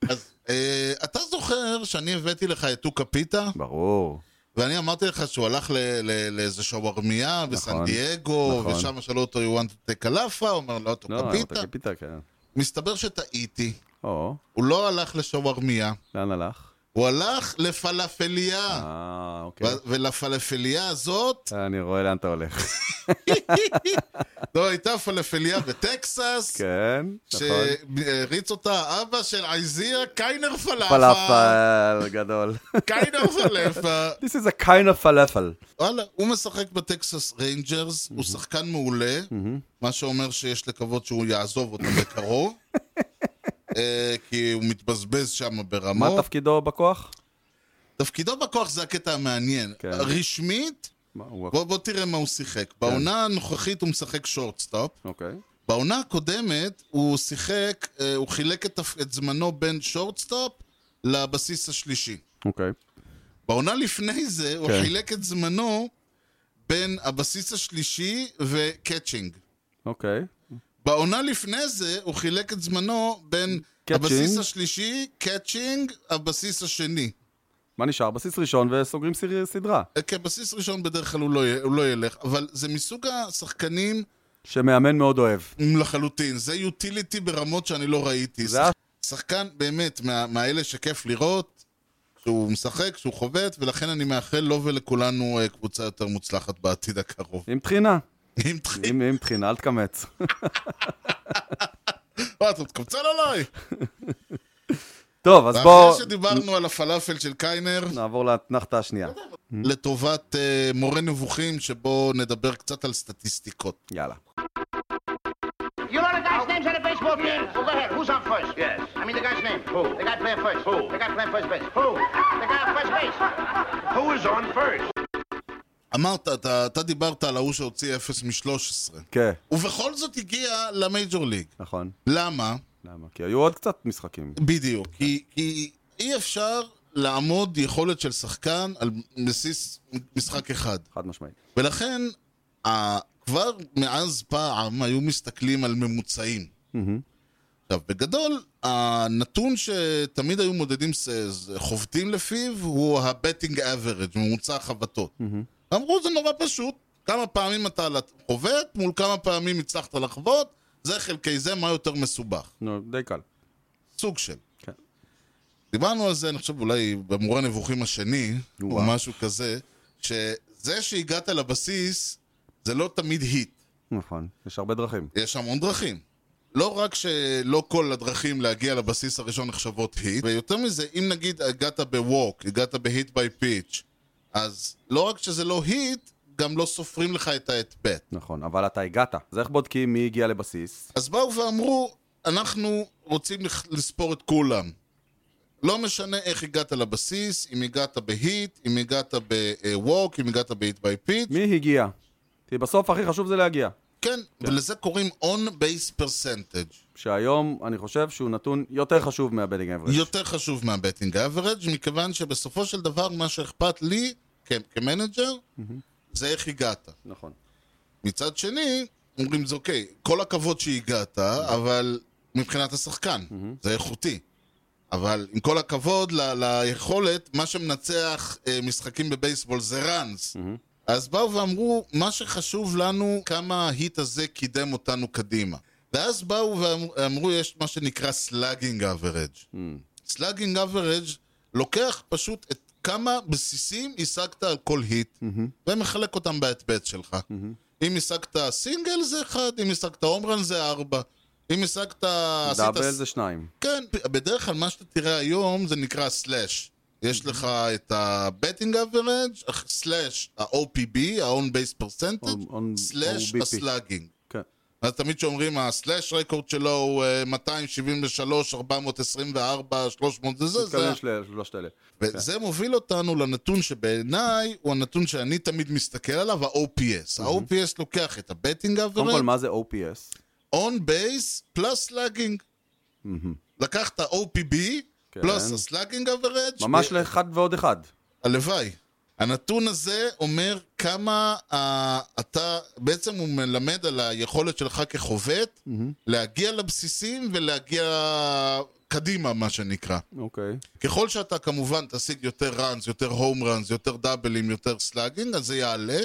Speaker 1: אז אה, אתה זוכר שאני הבאתי לך את טוקה פיתה,
Speaker 2: ברור.
Speaker 1: ואני אמרתי לך שהוא הלך ל- ל- לאיזה שווארמיה בסן
Speaker 2: נכון,
Speaker 1: דייגו,
Speaker 2: נכון.
Speaker 1: ושם שאלו אותו, you want to take a lapa? הוא אומר, לא, טוקה
Speaker 2: לא,
Speaker 1: פיתה.
Speaker 2: פיתה, כן.
Speaker 1: מסתבר שטעיתי,
Speaker 2: או,
Speaker 1: הוא לא הלך לשווארמיה,
Speaker 2: לאן הלך?
Speaker 1: הוא הלך לפלאפליה.
Speaker 2: אה, אוקיי.
Speaker 1: ו- ולפלאפליה הזאת,
Speaker 2: אה, אני רואה לאן אתה הולך.
Speaker 1: לא, הייתה פלאפליה בטקסס,
Speaker 2: כן, נכון.
Speaker 1: אה, שהריץ אותה האבא של עייזיה, קיינר פלאפה,
Speaker 2: פלאפל גדול.
Speaker 1: קיינר פלאפה.
Speaker 2: This is a kind of falafel.
Speaker 1: וואלה, הוא משחק בטקסס ריינג'רס, הוא שחקן מעולה, מה שאומר שיש לקוות שהוא יעזוב אותם בקרוב, אה, כי הוא מתבזבז שם
Speaker 2: מה
Speaker 1: ברמות.
Speaker 2: תפקידו בכוח?
Speaker 1: תפקידו בכוח זה הקטע המעניין.
Speaker 2: כן.
Speaker 1: רשמית,
Speaker 2: מה, הוא-
Speaker 1: בוא בוא תראה מה הוא שיחק. בעונה הנוכחית הוא משחק שורטסטופ.
Speaker 2: אוקיי.
Speaker 1: בעונה הקודמת הוא שיחק, אה, הוא חילק את, תפ- את זמנו בין שורטסטופ לבסיס השלישי.
Speaker 2: אוקיי.
Speaker 1: בעונה לפני זה הוא
Speaker 2: כן.
Speaker 1: חילק את זמנו בין הבסיס השלישי וקאצ'ינג.
Speaker 2: אוקיי.
Speaker 1: בעונה לפני זה הוא חילק את זמנו בין
Speaker 2: קאצ'ינג.
Speaker 1: הבסיס השלישי, קאצ'ינג, הבסיס השני.
Speaker 2: מה נשאר? בסיס ראשון וסוגרים סיר- סדרה.
Speaker 1: אה, כן, בסיס ראשון בדרך כלל הוא לא, י- הוא לא ילך, אבל זה מסוג השחקנים
Speaker 2: שמאמן מאוד אוהב.
Speaker 1: לחלוטין. זה יוטיליטי ברמות שאני לא ראיתי.
Speaker 2: זה היה-
Speaker 1: שחקן באמת מה, מהאלה שכיף לראות, שהוא משחק, שהוא חובט, ולכן אני מאחל לו ולכולנו אה, קבוצה יותר מוצלחת בעתיד הקרוב.
Speaker 2: עם טחינה.
Speaker 1: אם תחיל,
Speaker 2: עם עם טחינה, אל תקמץ.
Speaker 1: מה, אתה מתקמצן עליי?
Speaker 2: טוב, אז
Speaker 1: ואחרי
Speaker 2: בואו
Speaker 1: שדיברנו על הפלאפל של קיינר,
Speaker 2: נעבור לאתנחתא השנייה.
Speaker 1: לטובת אה, מורה נבוכים, שבו נדבר קצת על סטטיסטיקות.
Speaker 2: יאללה.
Speaker 5: You know the guy's names on the baseball team? Well, go ahead. Who's on first? Yes. I mean the guy's name. Who? The guy playing first. Who? The guy playing first base. Who? The guy on first base.
Speaker 4: Who is on first?
Speaker 1: אמרת, אתה, אתה דיברת על ההוא שהוציא 0 מ-13.
Speaker 2: כן,
Speaker 1: ובכל זאת הגיע למייג'ור ליג.
Speaker 2: נכון.
Speaker 1: למה?
Speaker 2: למה? כי היו עוד קצת משחקים.
Speaker 1: בדיוק. כי, כי אי אפשר לעמוד יכולת של שחקן על בסיס משחק אחד.
Speaker 2: חד משמעית.
Speaker 1: ולכן, ה- כבר מאז פעם היו מסתכלים על ממוצעים. עכשיו, בגדול, הנתון שתמיד היו מודדים ס- ס- חובטים לפיו הוא ה-betting average, ממוצע החבטות. אמרו, זה נורא פשוט, כמה פעמים אתה על הת- חובט, מול כמה פעמים הצלחת לחבוט, זה חלקי זה, מה יותר מסובך.
Speaker 2: נו, די קל.
Speaker 1: סוג של.
Speaker 2: כן.
Speaker 1: דיברנו על זה, אני חושב, אולי במורה הנבוכים השני, או משהו כזה, שזה שהגעת לבסיס, זה לא תמיד היט.
Speaker 2: נכון. יש הרבה דרכים.
Speaker 1: יש המון דרכים. לא רק שלא כל הדרכים להגיע לבסיס הראשון נחשבות היט, ויותר מזה, אם נגיד הגעת בווק, הגעת בהיט ביי פיץ', אז לא רק שזה לא היט, גם לא סופרים לך את ההטבט.
Speaker 2: נכון, אבל אתה הגעת. אז איך בודקים מי הגיע לבסיס?
Speaker 1: אז באו ואמרו, אנחנו רוצים לח- לספור את כולם. לא משנה איך הגעת לבסיס, אם הגעת בהיט, אם הגעת בווק, אם הגעת בהיט ביי פיץ',
Speaker 2: מי הגיע? כי בסוף הכי חשוב זה להגיע.
Speaker 1: כן, ולזה קוראים on base percentage.
Speaker 2: שהיום אני חושב שהוא נתון יותר חשוב מהבדינג אברג'.
Speaker 1: יותר חשוב מהבטינג אברג', מכיוון שבסופו של דבר מה שאכפת לי כ- כמנג'ר, זה איך הגעת.
Speaker 2: נכון.
Speaker 1: מצד שני, אומרים זה אוקיי, כל הכבוד שהגעת, אבל מבחינת השחקן, זה איכותי. אבל עם כל הכבוד ל- ליכולת, מה שמנצח אה, משחקים בבייסבול זה ראנס. אז באו ואמרו, מה שחשוב לנו, כמה ההיט הזה קידם אותנו קדימה. ואז באו ואמרו, יש מה שנקרא סלאגינג אברג'. סלאגינג אברג' לוקח פשוט את כמה בסיסים השגת על כל היט, ומחלק אותם בהטבט שלך. אם השגת סינגל זה אחד, אם השגת הומרן זה ארבע. אם השגת... עשית
Speaker 2: דאבל זה שניים.
Speaker 1: כן, בדרך כלל מה שאתה תראה היום זה נקרא סלאש. יש
Speaker 2: Mm-hmm.
Speaker 1: לך את ה-Betting Average, סלאש ה-OPB, ה-On Base
Speaker 2: On-
Speaker 1: Percentage,
Speaker 2: on-
Speaker 1: סלאש
Speaker 2: OBP.
Speaker 1: הסלאגינג.
Speaker 2: כן.
Speaker 1: אז תמיד שאומרים, הסלאש רקורד שלו הוא אה, 273, 424, 300, זה זה, זה.
Speaker 2: מתכוון של- שלושת אלה. כן.
Speaker 1: וזה מוביל אותנו לנתון שבעיניי הוא הנתון שאני תמיד מסתכל עליו, ה-OPS. ה-OPS לוקח את ה-Betting
Speaker 2: Mm-hmm. קודם כל,
Speaker 1: Average,
Speaker 2: מה זה OPS?
Speaker 1: on base פלוס סלאגינג. לקחת OPB
Speaker 2: כן.
Speaker 1: פלוס הסלאגינג אברג'
Speaker 2: ממש לאחד ועוד אחד.
Speaker 1: הלוואי. הנתון הזה אומר כמה uh, אתה, בעצם הוא מלמד על היכולת שלך כחובט להגיע לבסיסים ולהגיע קדימה, מה שנקרא.
Speaker 2: אוקיי.
Speaker 1: ככל שאתה כמובן תשיג יותר ראנס, יותר הום ראנס, יותר דאבלים, יותר סלאגינג, אז זה יעלה,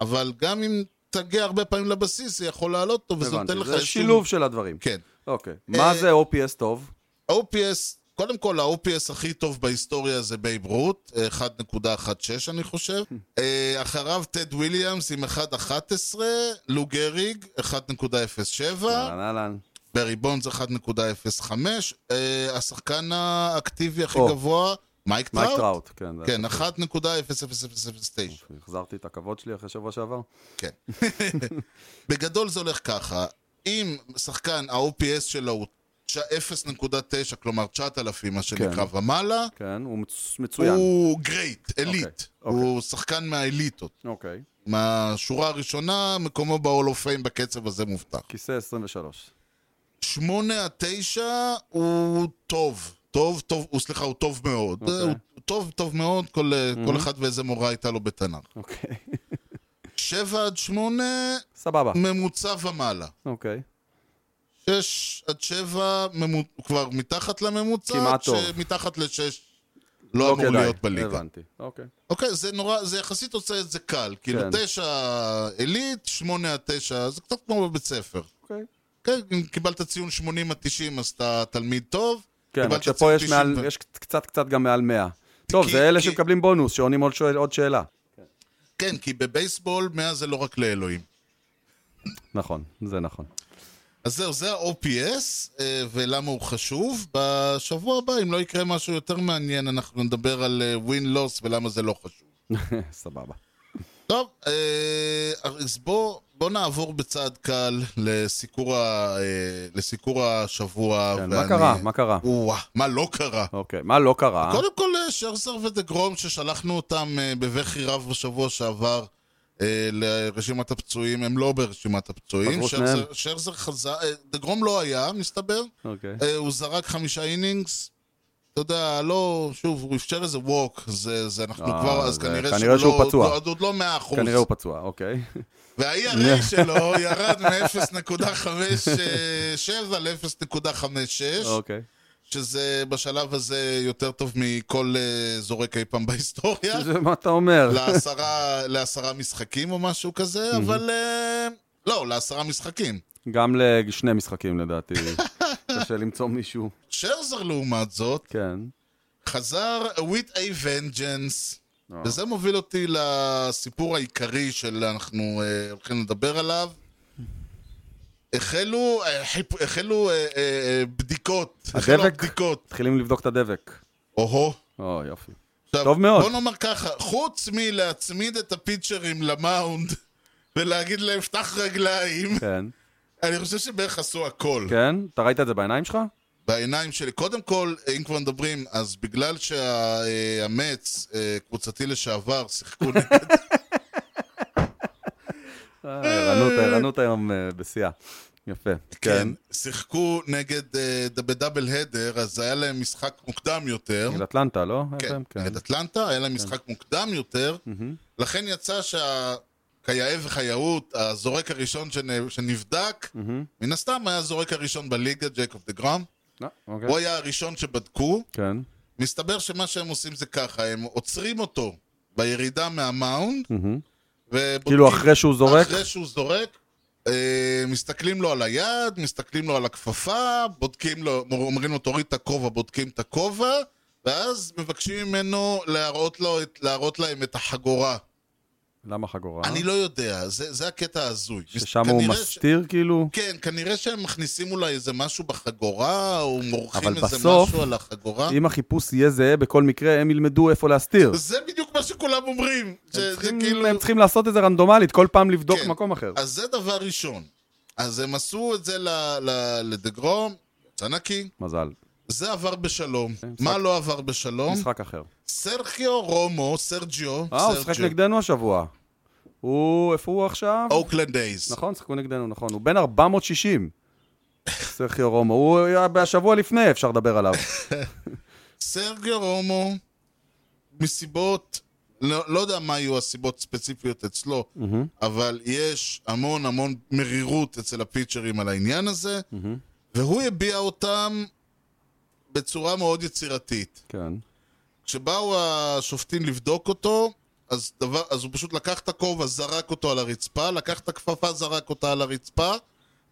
Speaker 1: אבל גם אם תגיע הרבה פעמים לבסיס, זה יכול לעלות אותו, וזה
Speaker 2: הבנתי.
Speaker 1: נותן לך
Speaker 2: זה
Speaker 1: איזשהו-
Speaker 2: שילוב של הדברים.
Speaker 1: כן.
Speaker 2: אוקיי. מה זה OPS טוב?
Speaker 1: OPS, קודם כל ה-OPS הכי טוב בהיסטוריה זה בייב רוט, 1.16 אני חושב.
Speaker 2: Hmm.
Speaker 1: אה, אחריו טד וויליאמס עם 1.11, לו גריג 1.07,
Speaker 2: אהלן אהלן.
Speaker 1: ברי בונדס 1.05, אה, השחקן האקטיבי הכי
Speaker 2: או.
Speaker 1: גבוה, מייק
Speaker 2: Oh. מייק
Speaker 1: טראוט.
Speaker 2: טראוט. Oh. כן. זה-
Speaker 1: כן, 1.0009.
Speaker 2: החזרתי את הכבוד שלי אחרי שבוע שעבר.
Speaker 1: כן. בגדול זה הולך ככה, אם שחקן ה-OPS שלו הוא 0.9, כלומר 9,000, מה שנקרא, ומעלה,
Speaker 2: כן, הוא מצ- מצוין.
Speaker 1: הוא גרייט, אליט.
Speaker 2: אוקיי, אוקיי.
Speaker 1: הוא שחקן מהאליטות.
Speaker 2: אוקיי.
Speaker 1: מהשורה הראשונה, מקומו ב-all of fame בקצב הזה מובטח.
Speaker 2: כיסא 23.
Speaker 1: שמונה עד תשע הוא טוב. טוב, טוב, הוא סליחה, הוא טוב מאוד.
Speaker 2: אוקיי. Mm-hmm.
Speaker 1: הוא טוב, טוב מאוד, כל, כל אחד ואיזה מורה הייתה לו בתנ"ך.
Speaker 2: אוקיי.
Speaker 1: שבע עד שמונה,
Speaker 2: סבבה.
Speaker 1: ממוצע ומעלה.
Speaker 2: אוקיי.
Speaker 1: שש עד שבע, ממו... הוא כבר מתחת לממוצע.
Speaker 2: כמעט טוב.
Speaker 1: שמתחת לשש לא,
Speaker 2: אוקיי,
Speaker 1: אמור להיות בליגה.
Speaker 2: הבנתי. אוקיי.
Speaker 1: אוקיי, זה נורא, זה יחסית עושה את זה קל. כאילו,
Speaker 2: כן.
Speaker 1: תשע עילית, שמונה עד תשע, זה קצת כמו בבית ספר.
Speaker 2: אוקיי.
Speaker 1: כן, אם קיבלת ציון 80 עד 90, אז אתה תלמיד טוב.
Speaker 2: כן,
Speaker 1: קיבלת
Speaker 2: רק שפה
Speaker 1: ציון
Speaker 2: יש
Speaker 1: 90
Speaker 2: מעל,
Speaker 1: ו-
Speaker 2: יש קצת קצת גם מעל 100. טוב, זה אלה
Speaker 1: כי-
Speaker 2: שמקבלים בונוס, שעונים עוד שואל- עוד שאלה.
Speaker 1: כן, כי בבייסבול 100 זה לא רק לאלוהים.
Speaker 2: נכון, זה נכון.
Speaker 1: אז זהו, זה ה-OPS, אה, ולמה הוא חשוב. בשבוע הבא, אם לא יקרה משהו יותר מעניין, אנחנו נדבר על אה, win-loss ולמה זה לא חשוב.
Speaker 2: סבבה.
Speaker 1: טוב, אה, אז בוא, בוא נעבור בצעד קל לסיקור, ה, אה, לסיקור השבוע.
Speaker 2: כן, מה קרה? מה קרה?
Speaker 1: וואו, מה לא קרה?
Speaker 2: אוקיי, מה לא קרה?
Speaker 1: קודם כל אה, שרסר ודגרום ששלחנו אותם אה, בבכי רב בשבוע שעבר אה, לרשימת הפצועים, הם לא ברשימת הפצועים.
Speaker 2: חזרו
Speaker 1: שרסר,
Speaker 2: שניהם.
Speaker 1: שרסר חזר, אה, דגרום לא היה, מסתבר.
Speaker 2: אוקיי.
Speaker 1: אה, הוא זרק חמישה אינינגס. אתה יודע, לא, שוב, הוא אפשר איזה ווק, זה, זה אנחנו
Speaker 2: אה,
Speaker 1: כבר, אז
Speaker 2: זה-
Speaker 1: כנראה, שהוא
Speaker 2: כנראה שהוא
Speaker 1: לא,
Speaker 2: פצוע.
Speaker 1: לא- עוד לא מאה אחוז.
Speaker 2: כנראה הוא פצוע, אוקיי.
Speaker 1: וה-ERA שלו ירד מ-0.57 ל-0.56,
Speaker 2: אוקיי.
Speaker 1: שזה בשלב הזה יותר טוב מכל אה, זורק אי פעם בהיסטוריה,
Speaker 2: זה מה אתה אומר?
Speaker 1: לעשרה- לעשרה משחקים או משהו כזה, אבל אה, לא, לעשרה משחקים.
Speaker 2: גם לשני משחקים לדעתי. קשה למצוא מישהו.
Speaker 1: שרזר לעומת זאת,
Speaker 2: כן.
Speaker 1: חזר with a vengeance.
Speaker 2: אה.
Speaker 1: וזה מוביל אותי אה, לסיפור העיקרי שאנחנו הולכים לדבר עליו. החלו, אה, חיפ- החלו אה, אה, אה, בדיקות. החלו
Speaker 2: הדבק?
Speaker 1: בדיקות.
Speaker 2: אה, מתחילים לבדוק את הדבק.
Speaker 1: או-הו.
Speaker 2: או, יופי.
Speaker 1: עכשיו,
Speaker 2: טוב מאוד.
Speaker 1: בוא נאמר ככה, חוץ מלהצמיד את הפיצ'רים למאונד ולהגיד להם, פתח רגליים,
Speaker 2: כן.
Speaker 1: אני חושב שבערך עשו הכל.
Speaker 2: כן? אתה ראית את זה בעיניים שלך?
Speaker 1: אה, בעיניים שלי. קודם כל, אם כבר מדברים, אז בגלל שהמץ, קבוצתי לשעבר, שיחקו נגד...
Speaker 2: אה, ערנות, הערנות היום אה, בשיאה. יפה.
Speaker 1: כן. שיחקו נגד, אה, ד- בדאבל הדר, אז היה להם משחק מוקדם יותר.
Speaker 2: נגד אטלנטה, כן. לא?
Speaker 1: כן,
Speaker 2: FM?
Speaker 1: נגד אטלנטה, היה להם משחק מוקדם יותר. לכן יצא שה... כיאה וכיאות, הזורק הראשון שנ- שנבדק, מן הסתם היה הזורק הראשון בליגה, ג'ייקוב דה גראם.
Speaker 2: אה, אוקיי.
Speaker 1: הוא היה הראשון שבדקו.
Speaker 2: כן.
Speaker 1: מסתבר שמה שהם עושים זה ככה, הם עוצרים אותו בירידה מהמאונד, ובודקים...
Speaker 2: כאילו אחרי שהוא זורק?
Speaker 1: אחרי שהוא זורק, אה, מסתכלים לו על היד, מסתכלים לו על הכפפה, בודקים לו, אומרים לו תוריד את הכובע, בודקים את הכובע, ואז מבקשים ממנו להראות, לו, את- להראות להם את החגורה.
Speaker 2: אה. למה חגורה?
Speaker 1: אני לא יודע, זה, זה הקטע ההזוי.
Speaker 2: ששם הוא
Speaker 1: כנראה ש-
Speaker 2: מסתיר כאילו?
Speaker 1: כן, כנראה שהם מכניסים אולי איזה משהו בחגורה, או מורחים
Speaker 2: אבל
Speaker 1: איזה
Speaker 2: בסוף,
Speaker 1: משהו על החגורה.
Speaker 2: אם החיפוש יהיה זהה בכל מקרה, הם ילמדו איפה להסתיר.
Speaker 1: אה? זה בדיוק מה שכולם אומרים.
Speaker 2: הם
Speaker 1: שזה
Speaker 2: צריכים-
Speaker 1: כאילו-
Speaker 2: הם צריכים לעשות את זה רנדומלית, כל פעם לבדוק
Speaker 1: כן.
Speaker 2: מקום אחר.
Speaker 1: אז זה דבר ראשון. אז הם עשו את זה ל- ל- לדגרום, צנקי,
Speaker 2: מזל.
Speaker 1: זה עבר בשלום.
Speaker 2: כן, משחק-
Speaker 1: מה לא עבר בשלום?
Speaker 2: משחק אחר.
Speaker 1: סרחיו רומו, סרג'יו,
Speaker 2: אה, הוא שיחק נגדנו השבוע. הוא, איפה הוא עכשיו?
Speaker 1: אוקלנד אייז.
Speaker 2: נכון, שיחקו נגדנו, נכון. הוא בן 460. סרחיו רומו. הוא היה השבוע לפני, אפשר לדבר עליו.
Speaker 1: סרג'יו רומו, מסיבות, לא לא יודע מה יהיו הסיבות ספציפיות אצלו, אבל יש המון המון מרירות אצל הפיצ'רים על העניין הזה, והוא הביע אותם בצורה מאוד יצירתית.
Speaker 2: כן.
Speaker 1: כשבאו השופטים לבדוק אותו, אז, דבר, אז הוא פשוט לקח את הכובע, זרק אותו על הרצפה, לקח את הכפפה, זרק אותה על הרצפה,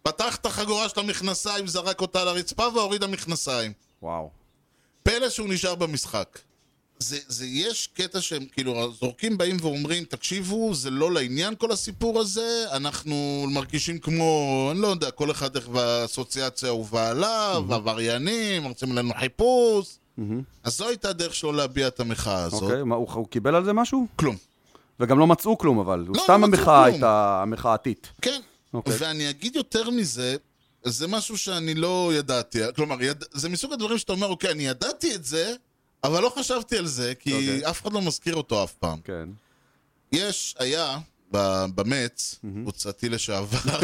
Speaker 1: פתח את החגורה של המכנסיים, זרק אותה על הרצפה, והוריד המכנסיים.
Speaker 2: וואו.
Speaker 1: פלא שהוא נשאר במשחק. זה, זה יש קטע שהם כאילו הזורקים באים ואומרים, תקשיבו, זה לא לעניין כל הסיפור הזה, אנחנו מרגישים כמו, אני לא יודע, כל אחד איך והאסוציאציה הובאה עליו, עבריינים, רוצים עלינו חיפוש. אז זו הייתה הדרך שלו להביע את המחאה הזאת.
Speaker 2: אוקיי, מה, הוא הוא קיבל על זה משהו?
Speaker 1: כלום.
Speaker 2: וגם לא מצאו כלום, אבל.
Speaker 1: לא
Speaker 2: סתם
Speaker 1: מצאו
Speaker 2: המחאה
Speaker 1: כלום.
Speaker 2: הייתה המחאתית.
Speaker 1: כן.
Speaker 2: אוקיי.
Speaker 1: ואני אגיד יותר מזה, זה משהו שאני לא ידעתי. כלומר, יד... זה מסוג הדברים שאתה אומר, אוקיי, אני ידעתי את זה, אבל לא חשבתי על זה, כי
Speaker 2: אוקיי.
Speaker 1: אף אחד לא מזכיר אותו אף פעם.
Speaker 2: כן.
Speaker 1: יש, היה, ב- במץ, קבוצתי לשעבר,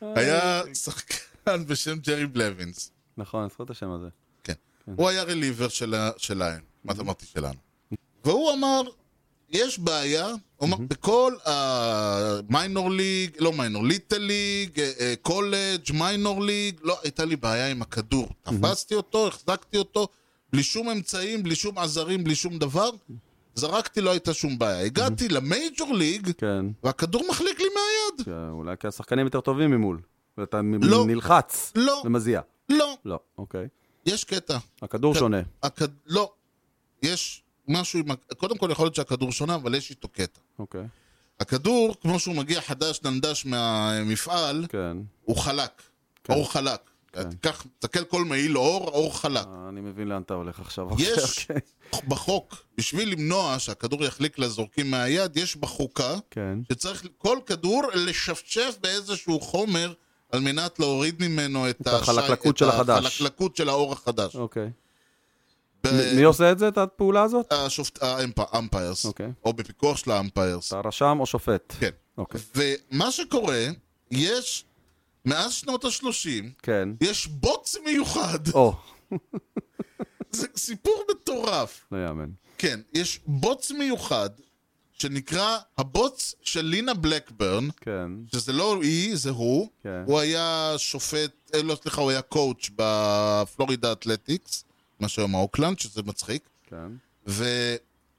Speaker 1: היה שחקן בשם ג'רי בלווינס.
Speaker 2: נכון, זכור את השם הזה.
Speaker 1: כן. הוא היה רליבר שלה- שלהם, מה אתה אמרתי שלנו. והוא אמר, יש בעיה, הוא אמר, בכל המיינור ליג, לא מיינור, ליטל ליג, אה, אה, קולג', מיינור ליג, לא, הייתה לי בעיה עם הכדור. תפסתי אותו, החזקתי אותו, בלי שום אמצעים, בלי שום עזרים, בלי שום דבר, זרקתי, לא הייתה שום בעיה. הגעתי למייג'ור ליג,
Speaker 2: כן.
Speaker 1: והכדור מחליק לי מהיד.
Speaker 2: אה, אולי כי השחקנים יותר טובים ממול. ואתה מ-
Speaker 1: לא.
Speaker 2: נלחץ.
Speaker 1: לא.
Speaker 2: ומזיע.
Speaker 1: לא,
Speaker 2: לא, אוקיי.
Speaker 1: יש קטע.
Speaker 2: הכדור
Speaker 1: כן.
Speaker 2: שונה.
Speaker 1: הכד... לא, יש משהו עם... הכ- קודם כל יכול להיות שהכדור שונה, אבל יש איתו קטע.
Speaker 2: אוקיי.
Speaker 1: הכדור, כמו שהוא מגיע חדש ננדש מהמפעל,
Speaker 2: כן.
Speaker 1: הוא חלק.
Speaker 2: כן.
Speaker 1: אור חלק. תיקח, תסתכל כל מעיל אור, אור חלק.
Speaker 2: אה, אני מבין לאן אתה הולך עכשיו. אוקיי,
Speaker 1: יש
Speaker 2: אוקיי.
Speaker 1: בחוק, בשביל למנוע שהכדור יחליק לזורקים מהיד, יש בחוקה
Speaker 2: כן.
Speaker 1: שצריך כל כדור לשפשף באיזשהו חומר על מנת להוריד ממנו את, השי-
Speaker 2: החלקלקות
Speaker 1: את
Speaker 2: של החדש.
Speaker 1: החלקלקות של האור החדש.
Speaker 2: אוקיי.
Speaker 1: ב-
Speaker 2: מי עושה את זה, את הפעולה הזאת?
Speaker 1: השופט, האמפיירס,
Speaker 2: אוקיי.
Speaker 1: או בפיקוח של האמפיירס.
Speaker 2: אתה רשם או שופט?
Speaker 1: כן.
Speaker 2: אוקיי.
Speaker 1: ומה שקורה, יש, מאז שנות ה-30,
Speaker 2: כן.
Speaker 1: יש בוץ מיוחד.
Speaker 2: או,
Speaker 1: זה סיפור מטורף.
Speaker 2: לא יאמן.
Speaker 1: כן, יש בוץ מיוחד, שנקרא הבוץ של לינה בלקברן,
Speaker 2: כן.
Speaker 1: שזה לא היא, זה הוא.
Speaker 2: כן.
Speaker 1: הוא היה שופט, אה, לא סליחה, הוא היה קואוץ' בפלורידה אתלטיקס, מה שהיום האוקלנד, שזה מצחיק.
Speaker 2: כן.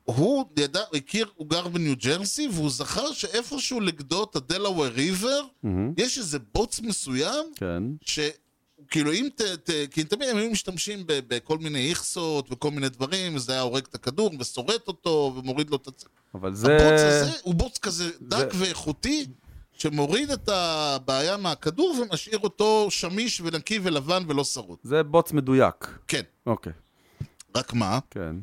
Speaker 1: והוא ידע, הכיר, הוא גר בניו ג'רסי, והוא זכר שאיפשהו לגדות הדלאוור ריבר,
Speaker 2: Mm-hmm.
Speaker 1: יש איזה בוץ מסוים,
Speaker 2: כן.
Speaker 1: שכאילו אם ת... ת כי תמיד הם היו משתמשים ב, בכל מיני איכסות וכל מיני דברים, זה היה הורג את הכדור וסורט אותו ומוריד לו את הצ...
Speaker 2: אבל זה...
Speaker 1: הבוץ הזה הוא בוץ כזה דק
Speaker 2: זה-
Speaker 1: ואיכותי, שמוריד את הבעיה מהכדור ומשאיר אותו שמיש ונקי ולבן ולא שרוט.
Speaker 2: זה בוץ מדויק.
Speaker 1: כן,
Speaker 2: אוקיי,
Speaker 1: רק מה?
Speaker 2: כן.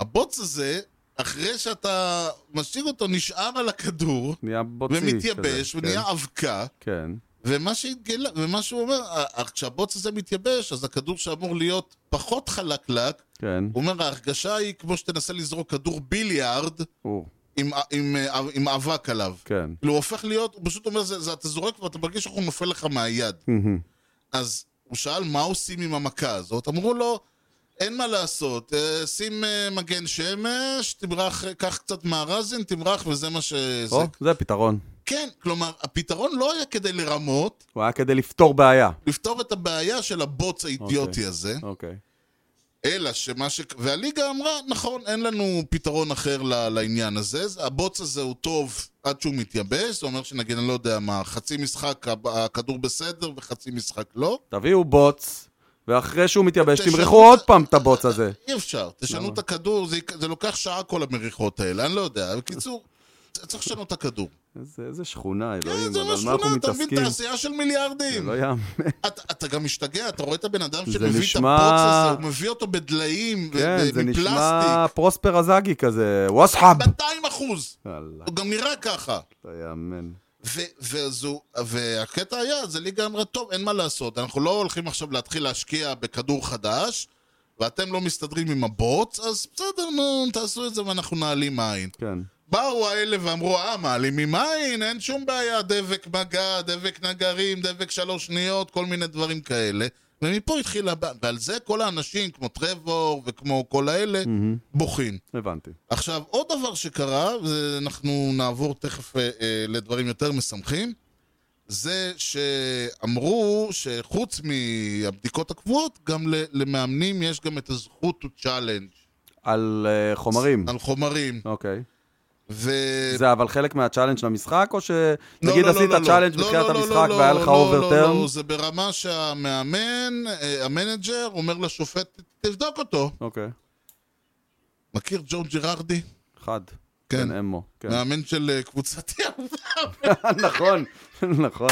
Speaker 1: הבוץ הזה, אחרי שאתה משאיר אותו, נשאר על הכדור,
Speaker 2: נהיה בוצי.
Speaker 1: ומתייבש,
Speaker 2: כזה,
Speaker 1: ונהיה אבקה,
Speaker 2: כן,
Speaker 1: ומה, שהתגלה, ומה שהוא אומר, ה- ה- כשהבוץ הזה מתייבש, אז הכדור שאמור להיות פחות חלקלק,
Speaker 2: כן.
Speaker 1: הוא אומר, ההרגשה היא כמו שתנסה לזרוק כדור ביליארד
Speaker 2: הוא,
Speaker 1: עם, אה, עם, עם, עם אבק עליו.
Speaker 2: כן.
Speaker 1: כאילו, הוא הופך להיות, הוא פשוט אומר, זה, זה, אתה זורק ואתה מרגיש שהוא נופל לך מהיד. אז הוא שאל, מה עושים עם המכה הזאת? אמרו לו, אין מה לעשות, אה, שים אה, מגן שמש, תמרח, אה, קח קצת מהרזין, תמרח, וזה מה ש... זה...
Speaker 2: או, זה פתרון.
Speaker 1: כן, כלומר, הפתרון לא היה כדי לרמות,
Speaker 2: הוא היה כדי לפתור בעיה.
Speaker 1: לפתור את הבעיה של הבוץ האידיוטי
Speaker 2: אוקיי.
Speaker 1: הזה,
Speaker 2: אוקיי.
Speaker 1: אלא שמה ש... והליגה אמרה, נכון, אין לנו פתרון אחר ל- לעניין הזה, זה- הבוץ הזה הוא טוב עד שהוא מתייבש, זה אומר שנגיד, אני לא יודע מה, חצי משחק הב- הכדור בסדר וחצי משחק לא.
Speaker 2: תביאו בוץ, ואחרי שהוא מתייבש,
Speaker 1: תשנו-
Speaker 2: תמרחו עוד פעם את הבוץ הזה.
Speaker 1: אי אפשר, תשנו את הכדור, זה, יק- זה לוקח שעה כל המריחות האלה, אני לא יודע. בקיצור, צ- צריך לשנות את הכדור.
Speaker 2: איזה איזה שכונה, אלוהים,
Speaker 1: כן, זה
Speaker 2: לא, על
Speaker 1: מה
Speaker 2: מה אנחנו
Speaker 1: שכונה, אתה מבין,
Speaker 2: מתעסקים?
Speaker 1: תעשייה של מיליארדים.
Speaker 2: לא יאמן.
Speaker 1: אתה, אתה גם משתגע, אתה רואה את הבן אדם
Speaker 2: זה
Speaker 1: שמביא
Speaker 2: נשמע-
Speaker 1: את הפוץ הזה, הוא מביא אותו בדליים,
Speaker 2: כן,
Speaker 1: ו-
Speaker 2: זה נשמע
Speaker 1: מפלסטיק.
Speaker 2: פרוספר אזאגי כזה, וואסחאב.
Speaker 1: 200 אחוז,
Speaker 2: יאללה,
Speaker 1: הוא גם נראה ככה.
Speaker 2: לא יאמן.
Speaker 1: ו- וזו, והקטע היה, זה ליגה אמרה, טוב, אין מה לעשות, אנחנו לא הולכים עכשיו להתחיל להשקיע בכדור חדש, ואתם לא מסתדרים עם הבוץ, אז בסדר, נו, תעשו את זה ואנחנו נעלים עין.
Speaker 2: כן.
Speaker 1: באו האלה ואמרו, אה, מעלימים עין, אין שום בעיה, דבק מגע, דבק נגרים, דבק שלוש שניות, כל מיני דברים כאלה. ומפה התחילה, הבעיה. ועל זה כל האנשים, כמו טרבור וכמו כל האלה, בוכים.
Speaker 2: הבנתי.
Speaker 1: עכשיו, עוד דבר שקרה, ואנחנו נעבור תכף אה, אה, לדברים יותר משמחים, זה שאמרו שחוץ מהבדיקות הקבועות, גם ל- למאמנים יש גם את הזכות to challenge
Speaker 2: על אה, חומרים.
Speaker 1: על חומרים.
Speaker 2: אוקיי.
Speaker 1: ו...
Speaker 2: זה אבל חלק מהצ'אלנג' של המשחק, או
Speaker 1: לא,
Speaker 2: שנגיד
Speaker 1: לא, לא,
Speaker 2: עשית
Speaker 1: לא, לא.
Speaker 2: צ'אלנג'
Speaker 1: לא,
Speaker 2: בתחילת
Speaker 1: לא, לא,
Speaker 2: המשחק
Speaker 1: לא,
Speaker 2: והיה
Speaker 1: לא,
Speaker 2: לך
Speaker 1: לא,
Speaker 2: אוברטרן?
Speaker 1: לא, לא, זה ברמה שהמאמן, אה, המנג'ר, אומר לשופט, תבדוק אותו.
Speaker 2: אוקיי.
Speaker 1: מכיר ג'ו ג'יררדי?
Speaker 2: חד.
Speaker 1: כן.
Speaker 2: כן, אמו. כן.
Speaker 1: מאמן של אה, קבוצת ים.
Speaker 2: נכון, נכון.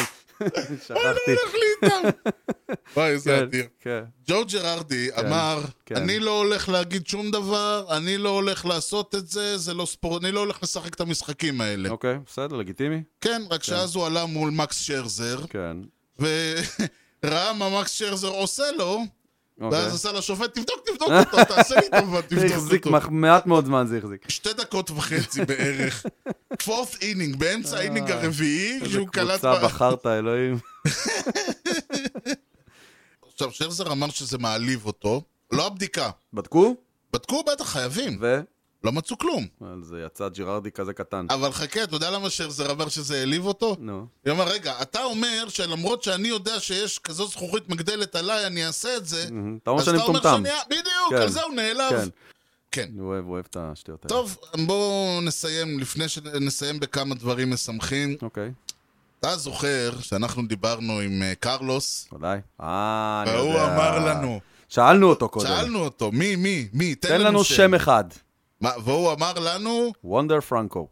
Speaker 2: שכחתי.
Speaker 1: הולך לי איתם. וואי, איזה
Speaker 2: כן,
Speaker 1: אדיר.
Speaker 2: כן.
Speaker 1: ג'ו ג'רארדי אמר,
Speaker 2: כן.
Speaker 1: אני לא הולך להגיד שום דבר, אני לא הולך לעשות את זה, זה לא ספורט, אני לא הולך לשחק את המשחקים האלה.
Speaker 2: אוקיי, בסדר, לגיטימי.
Speaker 1: כן, רק שאז הוא עלה מול מקס שרזר,
Speaker 2: כן.
Speaker 1: וראה מה מקס שרזר עושה לו,
Speaker 2: אוקיי.
Speaker 1: ואז עשה לשופט, תבדוק, תבדוק אותו, תעשה לי טובה,
Speaker 2: זה
Speaker 1: תבדוק
Speaker 2: החזיק
Speaker 1: אותו.
Speaker 2: מח- מעט מאוד זמן, זה החזיק.
Speaker 1: שתי דקות וחצי בערך. פורט אינינג, באמצע האינינג הרביעי,
Speaker 2: אה. איזה
Speaker 1: שהוא קלט...
Speaker 2: קבוצה
Speaker 1: ב-
Speaker 2: בחרת, אלוהים.
Speaker 1: עכשיו, שרזר אמר שזה מעליב אותו, לא הבדיקה.
Speaker 2: בדקו,
Speaker 1: בדקו בטח, חייבים,
Speaker 2: ו...
Speaker 1: לא מצאו כלום.
Speaker 2: על זה יצא ג'יררדי כזה קטן.
Speaker 1: אבל חכה, אתה יודע למה שרזר אמר שזה העליב אותו?
Speaker 2: נו.
Speaker 1: היא אמרה, רגע, אתה אומר שלמרות שאני יודע שיש כזו זכוכית מגדלת עליי, אני אעשה את זה,
Speaker 2: מהמם. אתה אומר
Speaker 1: אז
Speaker 2: שאני
Speaker 1: אתה אומר
Speaker 2: מטומטם.
Speaker 1: שאני... בדיוק,
Speaker 2: כן.
Speaker 1: על זה הוא נעלב.
Speaker 2: כן.
Speaker 1: כן.
Speaker 2: אני אוהב, אוהב את השטויות האלה.
Speaker 1: טוב, בואו נסיים, לפני שנסיים בכמה דברים משמחים.
Speaker 2: אוקיי,
Speaker 1: אתה זוכר שאנחנו דיברנו עם אה, קרלוס,
Speaker 2: ודאי. אה, אני יודע.
Speaker 1: והוא אמר לנו,
Speaker 2: שאלנו אותו קודם.
Speaker 1: שאלנו אותו, מי, מי, מי,
Speaker 2: תן לנו שם אחד.
Speaker 1: מה, והוא אמר לנו,
Speaker 2: וונדר פרנקו.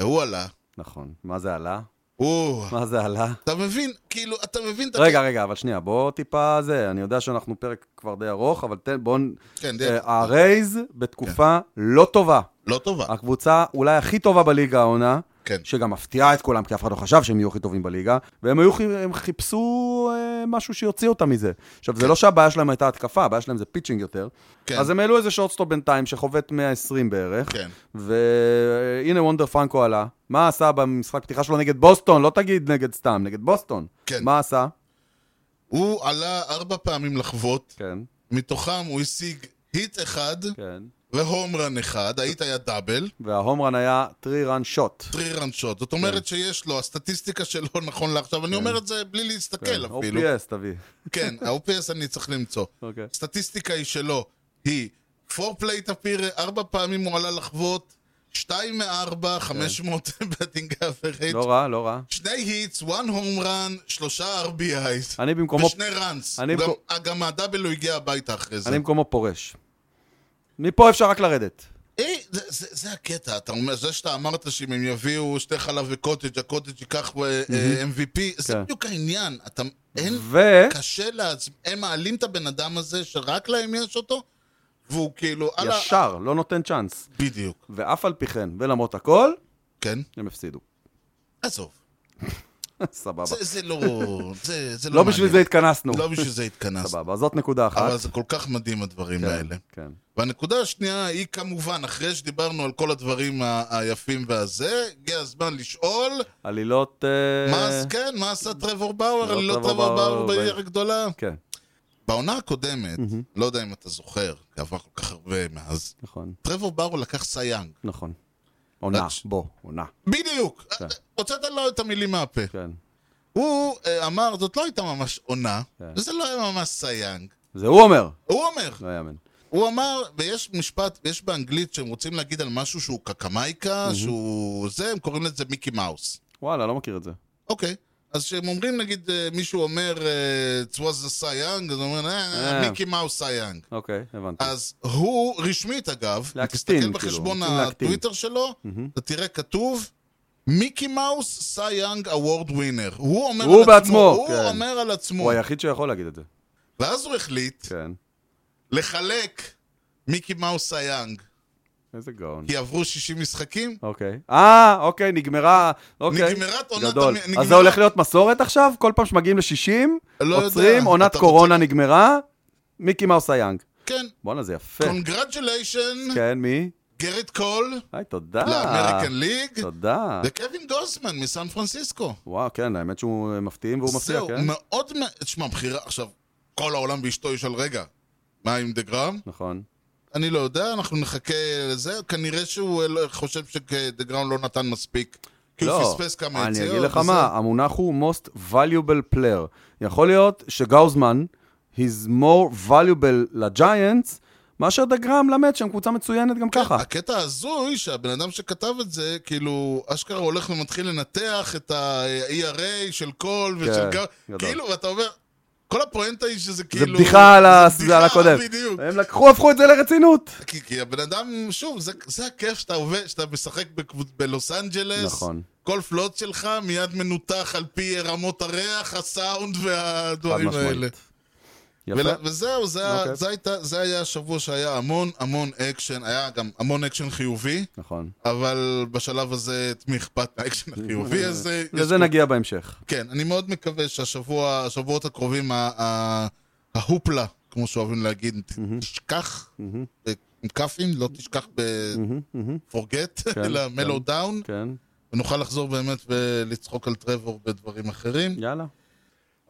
Speaker 1: הוא עלה.
Speaker 2: נכון. מה זה עלה?
Speaker 1: הוא...
Speaker 2: מה זה עלה?
Speaker 1: אתה מבין, כאילו, אתה מבין את
Speaker 2: רגע, רגע, אבל שנייה, בוא טיפה זה, אני יודע שאנחנו פרק כבר די ארוך, אבל תן, בוא... נ-
Speaker 1: כן, די-
Speaker 2: אה, אה, הרייז בתקופה לא טובה.
Speaker 1: לא טובה.
Speaker 2: הקבוצה אולי הכי טובה בליגה העונה,
Speaker 1: כן.
Speaker 2: שגם מפתיעה את כולם, כי אף אחד לא חשב שהם יהיו הכי טובים בליגה, והם היו, חי- הם חיפשו אה, משהו שיוציא אותם מזה. עכשיו, זה לא שהבעיה שלהם הייתה התקפה, הבעיה שלהם זה פיצ'ינג יותר.
Speaker 1: כן.
Speaker 2: אז הם העלו איזה שורטסטופ בינתיים, שחובט 120 בערך.
Speaker 1: כן.
Speaker 2: והנה וונדר פרנקו עלה. מה עשה במשחק פתיחה שלו נגד בוסטון? לא תגיד נגד סתם, נגד בוסטון.
Speaker 1: כן.
Speaker 2: מה עשה?
Speaker 1: הוא עלה ארבע פעמים לחוות,
Speaker 2: כן,
Speaker 1: מתוכם הוא השיג היט אחד
Speaker 2: כן.
Speaker 1: והום רן אחד, ההיט היה דאבל,
Speaker 2: וההומרן היה טרי רן שוט.
Speaker 1: טרי רן שוט. זאת
Speaker 2: כן.
Speaker 1: אומרת שיש לו, הסטטיסטיקה שלו נכון לעכשיו, אני אומר את זה בלי
Speaker 2: כן,
Speaker 1: להסתכל כן, אפילו.
Speaker 2: OPS תביא.
Speaker 1: כן, ה-OPS אני צריך למצוא.
Speaker 2: אוקיי.
Speaker 1: הסטטיסטיקה היא שלו היא 4 פלייט אפירה, 4 פעמים הוא עלה לחוות, 2 מ-4, 500 בטינג אברג',
Speaker 2: כן. לא רע, לא רע.
Speaker 1: שני היטס, 1 הום רן, 3 RBI's.
Speaker 2: אני במקומו,
Speaker 1: ושני ראנס,
Speaker 2: אני
Speaker 1: גם-
Speaker 2: במקום-
Speaker 1: אה, גם הדאבל הוא הגיע הביתה אחרי זה.
Speaker 2: אני במקומו פורש. מפה אפשר רק לרדת.
Speaker 1: אי, אה, זה, זה, זה הקטע, אתה אומר, זה שאתה אמרת שאם הם יביאו שתי חלב וקוטג', הקוטג' ייקח אה, אה, MVP, זה
Speaker 2: כן.
Speaker 1: בדיוק העניין, אתה, אין,
Speaker 2: ו-
Speaker 1: קשה להצ... הם מעלים את הבן אדם הזה, שרק להם יש אותו, והוא כאילו, "אללה,
Speaker 2: ישר, לא נותן צ'אנס.
Speaker 1: בדיוק,
Speaker 2: ואף על פי כן, ולמרות הכל,
Speaker 1: כן,
Speaker 2: הם הפסידו.
Speaker 1: עזוב,
Speaker 2: סבבה.
Speaker 1: זה, זה לא, זה, זה לא
Speaker 2: לא בשביל זה
Speaker 1: מעניין.
Speaker 2: התכנסנו.
Speaker 1: לא בשביל זה התכנסנו,
Speaker 2: סבבה, זאת נקודה אחת.
Speaker 1: אבל זה כל כך מדהים הדברים
Speaker 2: כן,
Speaker 1: האלה.
Speaker 2: כן.
Speaker 1: והנקודה השנייה היא כמובן, אחרי שדיברנו על כל הדברים ה- היפים והזה, הגיע הזמן לשאול,
Speaker 2: עלילות... אה,
Speaker 1: מה, עש- כן, מה עשה טרוור באואר,
Speaker 2: לא
Speaker 1: אני לא
Speaker 2: טרבור
Speaker 1: טרוור באואר
Speaker 2: באואר,
Speaker 1: בעיר
Speaker 2: ב-
Speaker 1: הגדולה?
Speaker 2: כן,
Speaker 1: בעונה הקודמת, לא יודע אם אתה זוכר, כי עבר כל כך הרבה מאז,
Speaker 2: נכון,
Speaker 1: טרוור באואר לקח סייאנג.
Speaker 2: נכון. עונה,
Speaker 1: רק-
Speaker 2: בוא, עונה.
Speaker 1: בדיוק! הוצאת לו את המילים מהפה.
Speaker 2: כן.
Speaker 1: הוא אה, אמר, זאת לא הייתה ממש עונה,
Speaker 2: כן.
Speaker 1: וזה לא היה ממש סייאנג.
Speaker 2: זה הוא אומר.
Speaker 1: הוא אומר,
Speaker 2: לא יאמן.
Speaker 1: הוא אמר, ויש משפט, יש באנגלית שהם רוצים להגיד על משהו שהוא קקמייקה, שהוא זה, הם קוראים לזה מיקי מאוס.
Speaker 2: וואלה, לא מכיר את זה.
Speaker 1: אוקיי. אז כשהם אומרים, נגיד, אה, מישהו אומר, אה, It was a סייאנג, אז אומרים, "אה,
Speaker 2: אה.
Speaker 1: מיקי מאוס סייאנג.
Speaker 2: אוקיי, הבנתי.
Speaker 1: אז הוא, רשמית אגב, אם
Speaker 2: להקטין,
Speaker 1: תסתכל
Speaker 2: כאילו,
Speaker 1: בחשבון
Speaker 2: רוצים להקטין.
Speaker 1: הטוויטר שלו, אתה תראה כתוב, מיקי מאוס סייאנג אוורד ווינר. הוא אומר
Speaker 2: הוא
Speaker 1: על עצמו,
Speaker 2: בעצמו,
Speaker 1: הוא
Speaker 2: כן.
Speaker 1: אומר על עצמו.
Speaker 2: הוא היחיד שיכול להגיד את זה.
Speaker 1: ואז הוא החליט
Speaker 2: כן.
Speaker 1: לחלק מיקי מאוס סייאנג.
Speaker 2: איזה גאון.
Speaker 1: כי עברו 60 משחקים,
Speaker 2: אוקיי. אה, אוקיי, נגמרה. אוקיי.
Speaker 1: נגמרת עונת
Speaker 2: גדול.
Speaker 1: המ- נגמרה-
Speaker 2: אז זה הולך להיות מסורת עכשיו? כל פעם שמגיעים ל-60,
Speaker 1: לא
Speaker 2: עוצרים,
Speaker 1: יודע.
Speaker 2: עונת
Speaker 1: אתה
Speaker 2: קורונה נגמרה, מיקי מאוס היאנג.
Speaker 1: כן.
Speaker 2: בואנה, זה יפה.
Speaker 1: קונגרצ'ליישן,
Speaker 2: כן, מי?
Speaker 1: גרד קול,
Speaker 2: היי, תודה.
Speaker 1: לאמריקן ליג,
Speaker 2: תודה.
Speaker 1: וקווין גוסמן מסן פרנסיסקו.
Speaker 2: וואו, כן, האמת שהוא אה, מפתיעים והוא מפתיע,
Speaker 1: זהו,
Speaker 2: כן?
Speaker 1: מאוד, מע- תשמע, בחירה, עכשיו, כל העולם ואשתו ישאל, רגע, מה עם דה גראם?
Speaker 2: נכון.
Speaker 1: אני לא יודע, אנחנו נחכה לזה, כנראה שהוא אה, לא- חושב שדה גראם לא נתן מספיק. כי הוא
Speaker 2: לא,
Speaker 1: פספס כמה יציאות.
Speaker 2: אני אגיד לך
Speaker 1: וזה.
Speaker 2: מה, המונח הוא most valuable player. יכול להיות שגאוזמן, he's more valuable לג'יינטס, מאשר דגרם למט שהם קבוצה מצוינת
Speaker 1: כן,
Speaker 2: גם ככה.
Speaker 1: הקטע ההזוי שהבן אדם שכתב את זה, כאילו, אשכרה הולך ומתחיל לנתח את ה-ERA של קול ושל
Speaker 2: כן,
Speaker 1: גר...
Speaker 2: גדול.
Speaker 1: כאילו, ואתה אומר, כל הפואנטה היא שזה
Speaker 2: זה
Speaker 1: כאילו...
Speaker 2: בדיחה על ה-
Speaker 1: זה
Speaker 2: זה על הקודם.
Speaker 1: בדיוק.
Speaker 2: הם לקחו, הפכו את זה לרצינות.
Speaker 1: כי, כי הבן אדם, שוב, זה, זה הכיף שאתה עובד, שאתה משחק בקבוצ- בלוס אנג'לס.
Speaker 2: נכון.
Speaker 1: כל פלוט שלך מיד מנותח על פי רמות הריח, הסאונד והדברים
Speaker 2: חד-משמעית.
Speaker 1: האלה. ול...
Speaker 2: יפה.
Speaker 1: וזהו, זה,
Speaker 2: אוקיי.
Speaker 1: היה, זה, הייתה, זה היה השבוע שהיה המון המון אקשן, היה גם המון אקשן חיובי.
Speaker 2: נכון. אבל...
Speaker 1: אבל בשלב הזה, את מי אכפת מהאקשן החיובי הזה?
Speaker 2: לזה
Speaker 1: יש-
Speaker 2: נגיע בהמשך.
Speaker 1: כן, אני מאוד מקווה שהשבוע, השבועות הקרובים, ה- ה- ההופלה, כמו שאוהבים להגיד, ת-
Speaker 2: Mhm.
Speaker 1: תשכח, אה, עם כ"פים, לא תשכח ב-forget, אלא
Speaker 2: Mhm. כן.
Speaker 1: mellow down,
Speaker 2: כן,
Speaker 1: ונוכל לחזור באמת ולצחוק על טרוור בדברים אחרים.
Speaker 2: יאללה.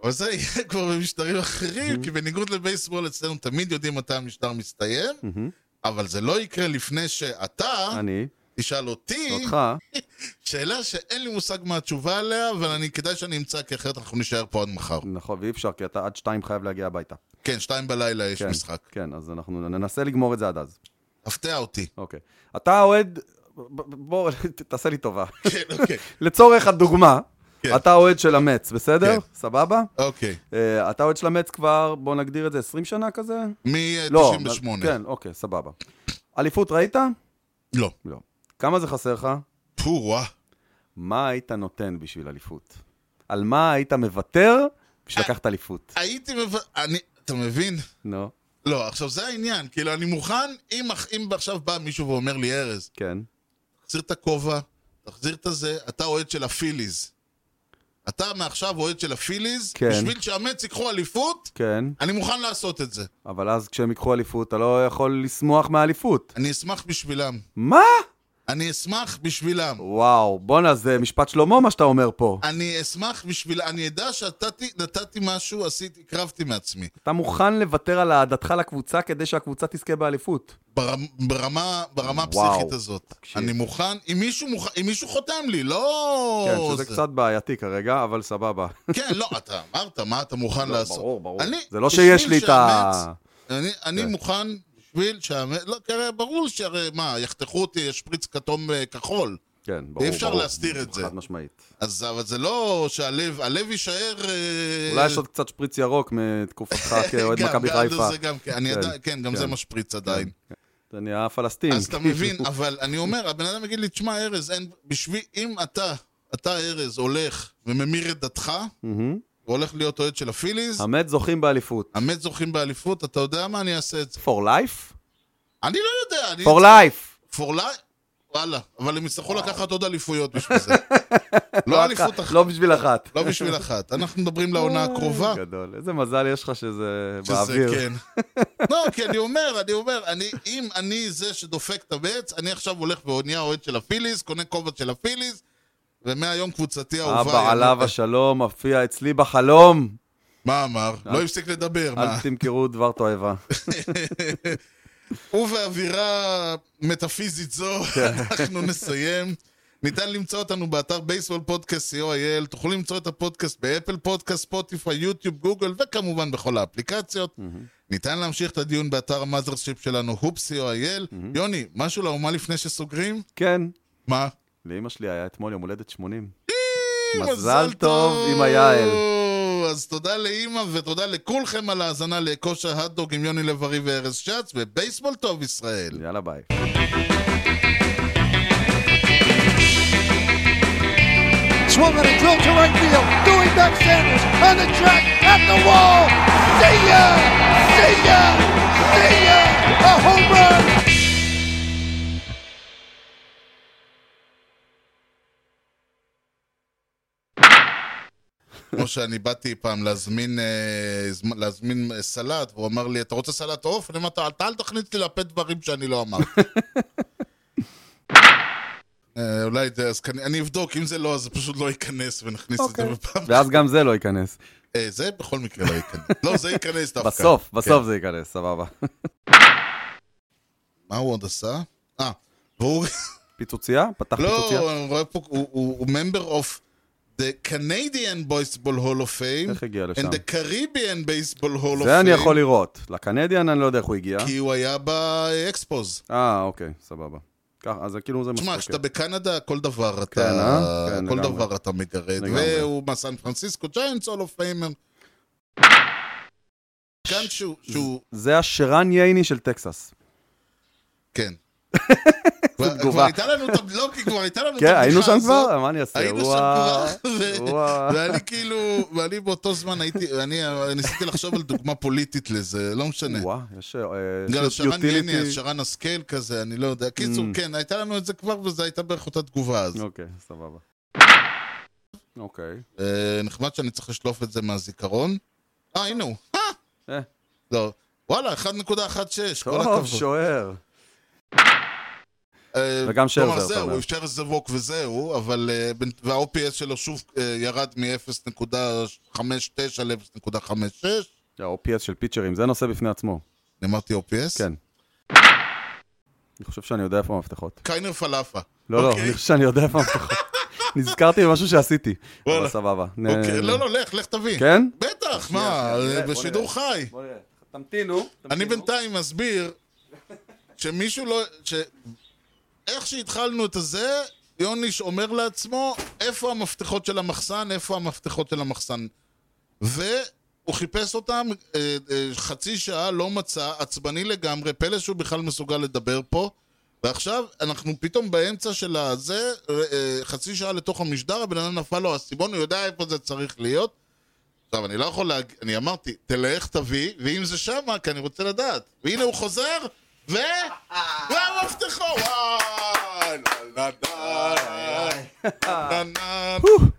Speaker 1: אבל זה יהיה כבר במשטרים
Speaker 2: Mhm.
Speaker 1: אחרים, כי בניגוד לבייסבול, אצלנו תמיד יודעים מתי המשטר מסתיים, אבל זה לא יקרה לפני שאתה
Speaker 2: Mhm. אני,
Speaker 1: תשאל אותי.
Speaker 2: אותך,
Speaker 1: שאלה שאין לי מושג מה התשובה עליה, אבל אני כדאי שאני אמצא, כי אחרת אנחנו נישאר פה עד מחר.
Speaker 2: נכון, ואי אפשר, כי אתה עד שתיים חייב להגיע הביתה.
Speaker 1: כן, שתיים בלילה יש
Speaker 2: כן,
Speaker 1: משחק.
Speaker 2: כן, אז אנחנו ננסה לגמור את זה עד אז.
Speaker 1: הפתע אותי.
Speaker 2: אוקיי. אתה אוהד, ב- ב- בוא, תעשה לי טובה.
Speaker 1: כן, אוקיי.
Speaker 2: לצורך הדוגמה,
Speaker 1: כן.
Speaker 2: אתה אוהד של המץ, בסדר?
Speaker 1: כן.
Speaker 2: סבבה?
Speaker 1: אוקיי.
Speaker 2: אה, אתה אוהד של המץ כבר, בוא נגדיר את זה, 20 שנה כזה?
Speaker 1: מ-98.
Speaker 2: כן, אוקיי, סבבה. אליפות ראית?
Speaker 1: לא.
Speaker 2: לא. כמה זה חסר לך?
Speaker 1: פו, וואה.
Speaker 2: מה היית נותן בשביל אליפות? על מה היית מוותר בשביל לקחת אליפות?
Speaker 1: הייתי מב... אני... אתה מבין?
Speaker 2: נו,
Speaker 1: לא, עכשיו זה העניין. כאילו, אני מוכן, אם אח- אם עכשיו בא מישהו ואומר לי, ארז,
Speaker 2: כן.
Speaker 1: תחזיר את הכובע, תחזיר את הזה, אתה אוהד של הפיליז. אתה מעכשיו אוהד של הפיליז,
Speaker 2: כן.
Speaker 1: בשביל שהמץ ייקחו אליפות,
Speaker 2: כן,
Speaker 1: אני מוכן לעשות את זה.
Speaker 2: אבל אז כשהם ייקחו אליפות, אתה לא יכול לשמוח מהאליפות.
Speaker 1: אני אשמח בשבילם.
Speaker 2: מה?
Speaker 1: אני אשמח בשבילם.
Speaker 2: וואו, בואנה, זה משפט שלמה מה שאתה אומר פה.
Speaker 1: אני אשמח בשביל... אני אדע שנתתי נתתי משהו, עשיתי, הקרבתי מעצמי.
Speaker 2: אתה מוכן לוותר על אהדתך לקבוצה כדי שהקבוצה תזכה באליפות.
Speaker 1: ברמ, ברמה, ברמה
Speaker 2: וואו,
Speaker 1: הפסיכית הזאת.
Speaker 2: תקשיב.
Speaker 1: אני מוכן, אם מישהו, מוכ... אם מישהו חותם לי, לא...
Speaker 2: כן, שזה
Speaker 1: זה-
Speaker 2: קצת בעייתי כרגע, אבל סבבה.
Speaker 1: כן, לא, אתה אמרת, מה אתה מוכן לעשות?
Speaker 2: לא, ברור, ברור.
Speaker 1: אני,
Speaker 2: זה לא
Speaker 1: בשביל
Speaker 2: שיש לי את ה...
Speaker 1: שהמץ-
Speaker 2: כן.
Speaker 1: אני, אני מוכן בשביל שהאמת... לא, כי הרי ברור שהרי מה, יחתכו אותי, יש פריץ כתום אה, כחול.
Speaker 2: כן, ברור,
Speaker 1: אפשר
Speaker 2: ברור.
Speaker 1: להסתיר את זה.
Speaker 2: חד משמעית.
Speaker 1: אז אבל זה לא שהלב, הלב יישאר... אה,
Speaker 2: אולי יש עוד קצת שפריץ ירוק מתקופתך כאוהד
Speaker 1: גם,
Speaker 2: מכבי
Speaker 1: גם
Speaker 2: חיפה.
Speaker 1: זה גם כן, אני
Speaker 2: כן,
Speaker 1: עדיין- כן, גם
Speaker 2: כן.
Speaker 1: זה משפריץ עדיין.
Speaker 2: זה נהיה פלסטין.
Speaker 1: אז אתה מבין, אבל אני אומר, הבן אדם יגיד לי, תשמע, ארז, אין... בשביל... אם אתה, אתה, ארז, הולך וממיר את דתך,
Speaker 2: מהמם.
Speaker 1: והולך להיות אוהד של הפיליז,
Speaker 2: המט זוכים באליפות.
Speaker 1: המת זוכים באליפות, אתה יודע מה? אני אעשה את זה.
Speaker 2: For life?
Speaker 1: אני לא יודע, אני...
Speaker 2: For life.
Speaker 1: for life? וואלה. אבל הם יצטרכו לקחת עוד אליפויות בשביל זה. לא אליפות אחת,
Speaker 2: לא כן. בשביל אחת.
Speaker 1: לא בשביל אחת. אנחנו מדברים לעונה הקרובה.
Speaker 2: גדול. איזה מזל יש לך שזה
Speaker 1: שזה
Speaker 2: באוויר.
Speaker 1: כן. לא, כי אני אומר, אני אומר, אני, אם אני זה שדופק את הבץ, אני עכשיו הולך ונהיה אוהד של הפיליז, קונה כובע של הפיליז, ומהיום קבוצתי האהובה...
Speaker 2: אבא
Speaker 1: היא-
Speaker 2: עליו השלום מופיע אצלי בחלום.
Speaker 1: מה אמר? לא הפסיק לדבר, מה?
Speaker 2: אה? אל תמכרו דבר תועבה.
Speaker 1: ובאווירה מטאפיזית זו, אנחנו נסיים. ניתן למצוא אותנו באתר בייסבול פודקאסט co.il, תוכלו למצוא את הפודקאסט באפל פודקאסט, ספוטיפיי, יוטיוב, גוגל, וכמובן בכל האפליקציות. ניתן להמשיך את הדיון באתר המאזרשיפ שלנו, הופס co.il. יוני, משהו לאומה לפני שסוגרים?
Speaker 2: כן.
Speaker 1: מה?
Speaker 2: לאמא שלי היה אתמול יום הולדת 80.
Speaker 1: מזל
Speaker 2: מזל טוב, אמא יעל.
Speaker 1: אז תודה לאימא ותודה לכולכם על ההאזנה לכושר הדדוג עם יוני לב-ארי וארז שץ, ובייסבול טוב ישראל.
Speaker 2: יאללה ביי.
Speaker 6: Swung on a drill to right field. Doing back Sanders on the track at the wall. See ya! See ya! See ya! A home run!
Speaker 1: כמו שאני באתי פעם להזמין, אה, זמ- להזמין אה, סלט, והוא אמר לי, אתה רוצה סלט עוף? אני אומר, "אתה- אתה אל תכניס לי לפה דברים שאני לא אמרתי. אה, אולי, זה- אז כנ- אני אבדוק, אם זה לא, אז זה פשוט לא ייכנס ונכניס את זה
Speaker 2: אוקיי.
Speaker 1: בפעם.
Speaker 2: ואז גם זה לא ייכנס.
Speaker 1: אה, זה בכל מקרה לא ייכנס. לא, זה ייכנס דווקא.
Speaker 2: בסוף,
Speaker 1: כן.
Speaker 2: בסוף זה ייכנס, סבבה.
Speaker 1: מה הוא עוד עשה? אה, והוא...
Speaker 2: פיצוצייה? פתח
Speaker 1: לא,
Speaker 2: פיצוצייה?
Speaker 1: אני רואה פה, הוא- הוא הוא member of the Canadian Baseball Hall of Fame.
Speaker 2: איך הגיע לשם?
Speaker 1: And the Caribbean Baseball Hall of Fame.
Speaker 2: זה אני יכול לראות. לקנדיאן אני לא יודע איך הוא הגיע.
Speaker 1: לא כי הוא היה באקספוז.
Speaker 2: אה, אוקיי, סבבה. ככה, אז כאילו זה
Speaker 1: תשמע,
Speaker 2: מספיק.
Speaker 1: כשאתה בקנדה, כל דבר
Speaker 2: כן,
Speaker 1: אתה...
Speaker 2: אה? כן,
Speaker 1: כל
Speaker 2: לגמרי.
Speaker 1: דבר אתה מגרד.
Speaker 2: לגמרי.
Speaker 1: והוא מהסן פרנסיסקו ג'יינטס, הול אוף פיימר. כאן שהוא- שהוא...
Speaker 2: זה השרן ייני של טקסס.
Speaker 1: כן. כבר כבר
Speaker 2: תגובה.
Speaker 1: הייתה לנו את הבלוקי, כבר הייתה לנו את
Speaker 2: כן,
Speaker 1: הבדיחה
Speaker 2: היינו שם
Speaker 1: הזאת.
Speaker 2: כבר? מה אני אעשה?
Speaker 1: היינו שם
Speaker 2: וואו,
Speaker 1: כבר, ו-
Speaker 2: וואו.
Speaker 1: ואני כאילו, ואני באותו זמן הייתי, אני ניסיתי לחשוב על דוגמה פוליטית לזה, לא משנה.
Speaker 2: וואו, יש... אה,
Speaker 1: גם
Speaker 2: יש
Speaker 1: שרן יני, אז
Speaker 2: utility. Mm.
Speaker 1: שרן השכל כזה, אני לא יודע. קיצור, כן, הייתה לנו את זה כבר, וזו הייתה בערך אותה תגובה אז.
Speaker 2: אוקיי, סבבה. אוקיי.
Speaker 1: אה, נחמד שאני צריך לשלוף את זה מהזיכרון. אה, הנה הוא. אה!
Speaker 2: אה,
Speaker 1: לא. וואלה, 1.16, כל
Speaker 2: טוב,
Speaker 1: הכבוד.
Speaker 2: שוער.
Speaker 1: אה,
Speaker 2: וגם שרזר,
Speaker 1: כלומר,
Speaker 2: אתה
Speaker 1: זהו,
Speaker 2: אומר.
Speaker 1: הוא אפשר זבוק וזהו, אבל... אה, בין- וה-OPS שלו שוב אה, ירד מ-0.59 ל-0.56.
Speaker 2: ה-OPS של פיצ'רים, זה נושא בפני עצמו.
Speaker 1: אני אמרתי OPS?
Speaker 2: כן. אני חושב שאני יודע איפה המפתחות.
Speaker 1: קיינר פלאפה.
Speaker 2: לא, לא,
Speaker 1: אוקיי.
Speaker 2: אני חושב שאני יודע איפה המפתחות. נזכרתי במשהו שעשיתי.
Speaker 1: וואלה.
Speaker 2: אבל סבבה. נ-
Speaker 1: אוקיי, לא, לא, לך, לך תביא.
Speaker 2: אה. כן?
Speaker 1: בטח,
Speaker 2: שנייה,
Speaker 1: מה, אה,
Speaker 2: שנייה, נראה, בוא
Speaker 1: בשידור
Speaker 2: נראה.
Speaker 1: חי.
Speaker 2: בוא נראה. תמתינו.
Speaker 1: אני
Speaker 2: תמתינו.
Speaker 1: בינתיים מסביר שמישהו לא... ש... איך שהתחלנו את הזה, יוניש אומר לעצמו, איפה המפתחות של המחסן, איפה המפתחות של המחסן. והוא חיפש אותם אה, אה, חצי שעה, לא מצא, עצבני לגמרי, פלא שהוא בכלל מסוגל לדבר פה. ועכשיו אנחנו פתאום באמצע של הזה, אה, אה, חצי שעה לתוך המשדר, הבן אדם נפל לו האסימון, הוא יודע איפה זה צריך להיות. עכשיו, אני לא יכול להג... אני אמרתי, תלך, תביא, ואם זה שמה, כי אני רוצה לדעת. והנה הוא חוזר, ו... והמפתחו! וואי! נה נה נה נה נה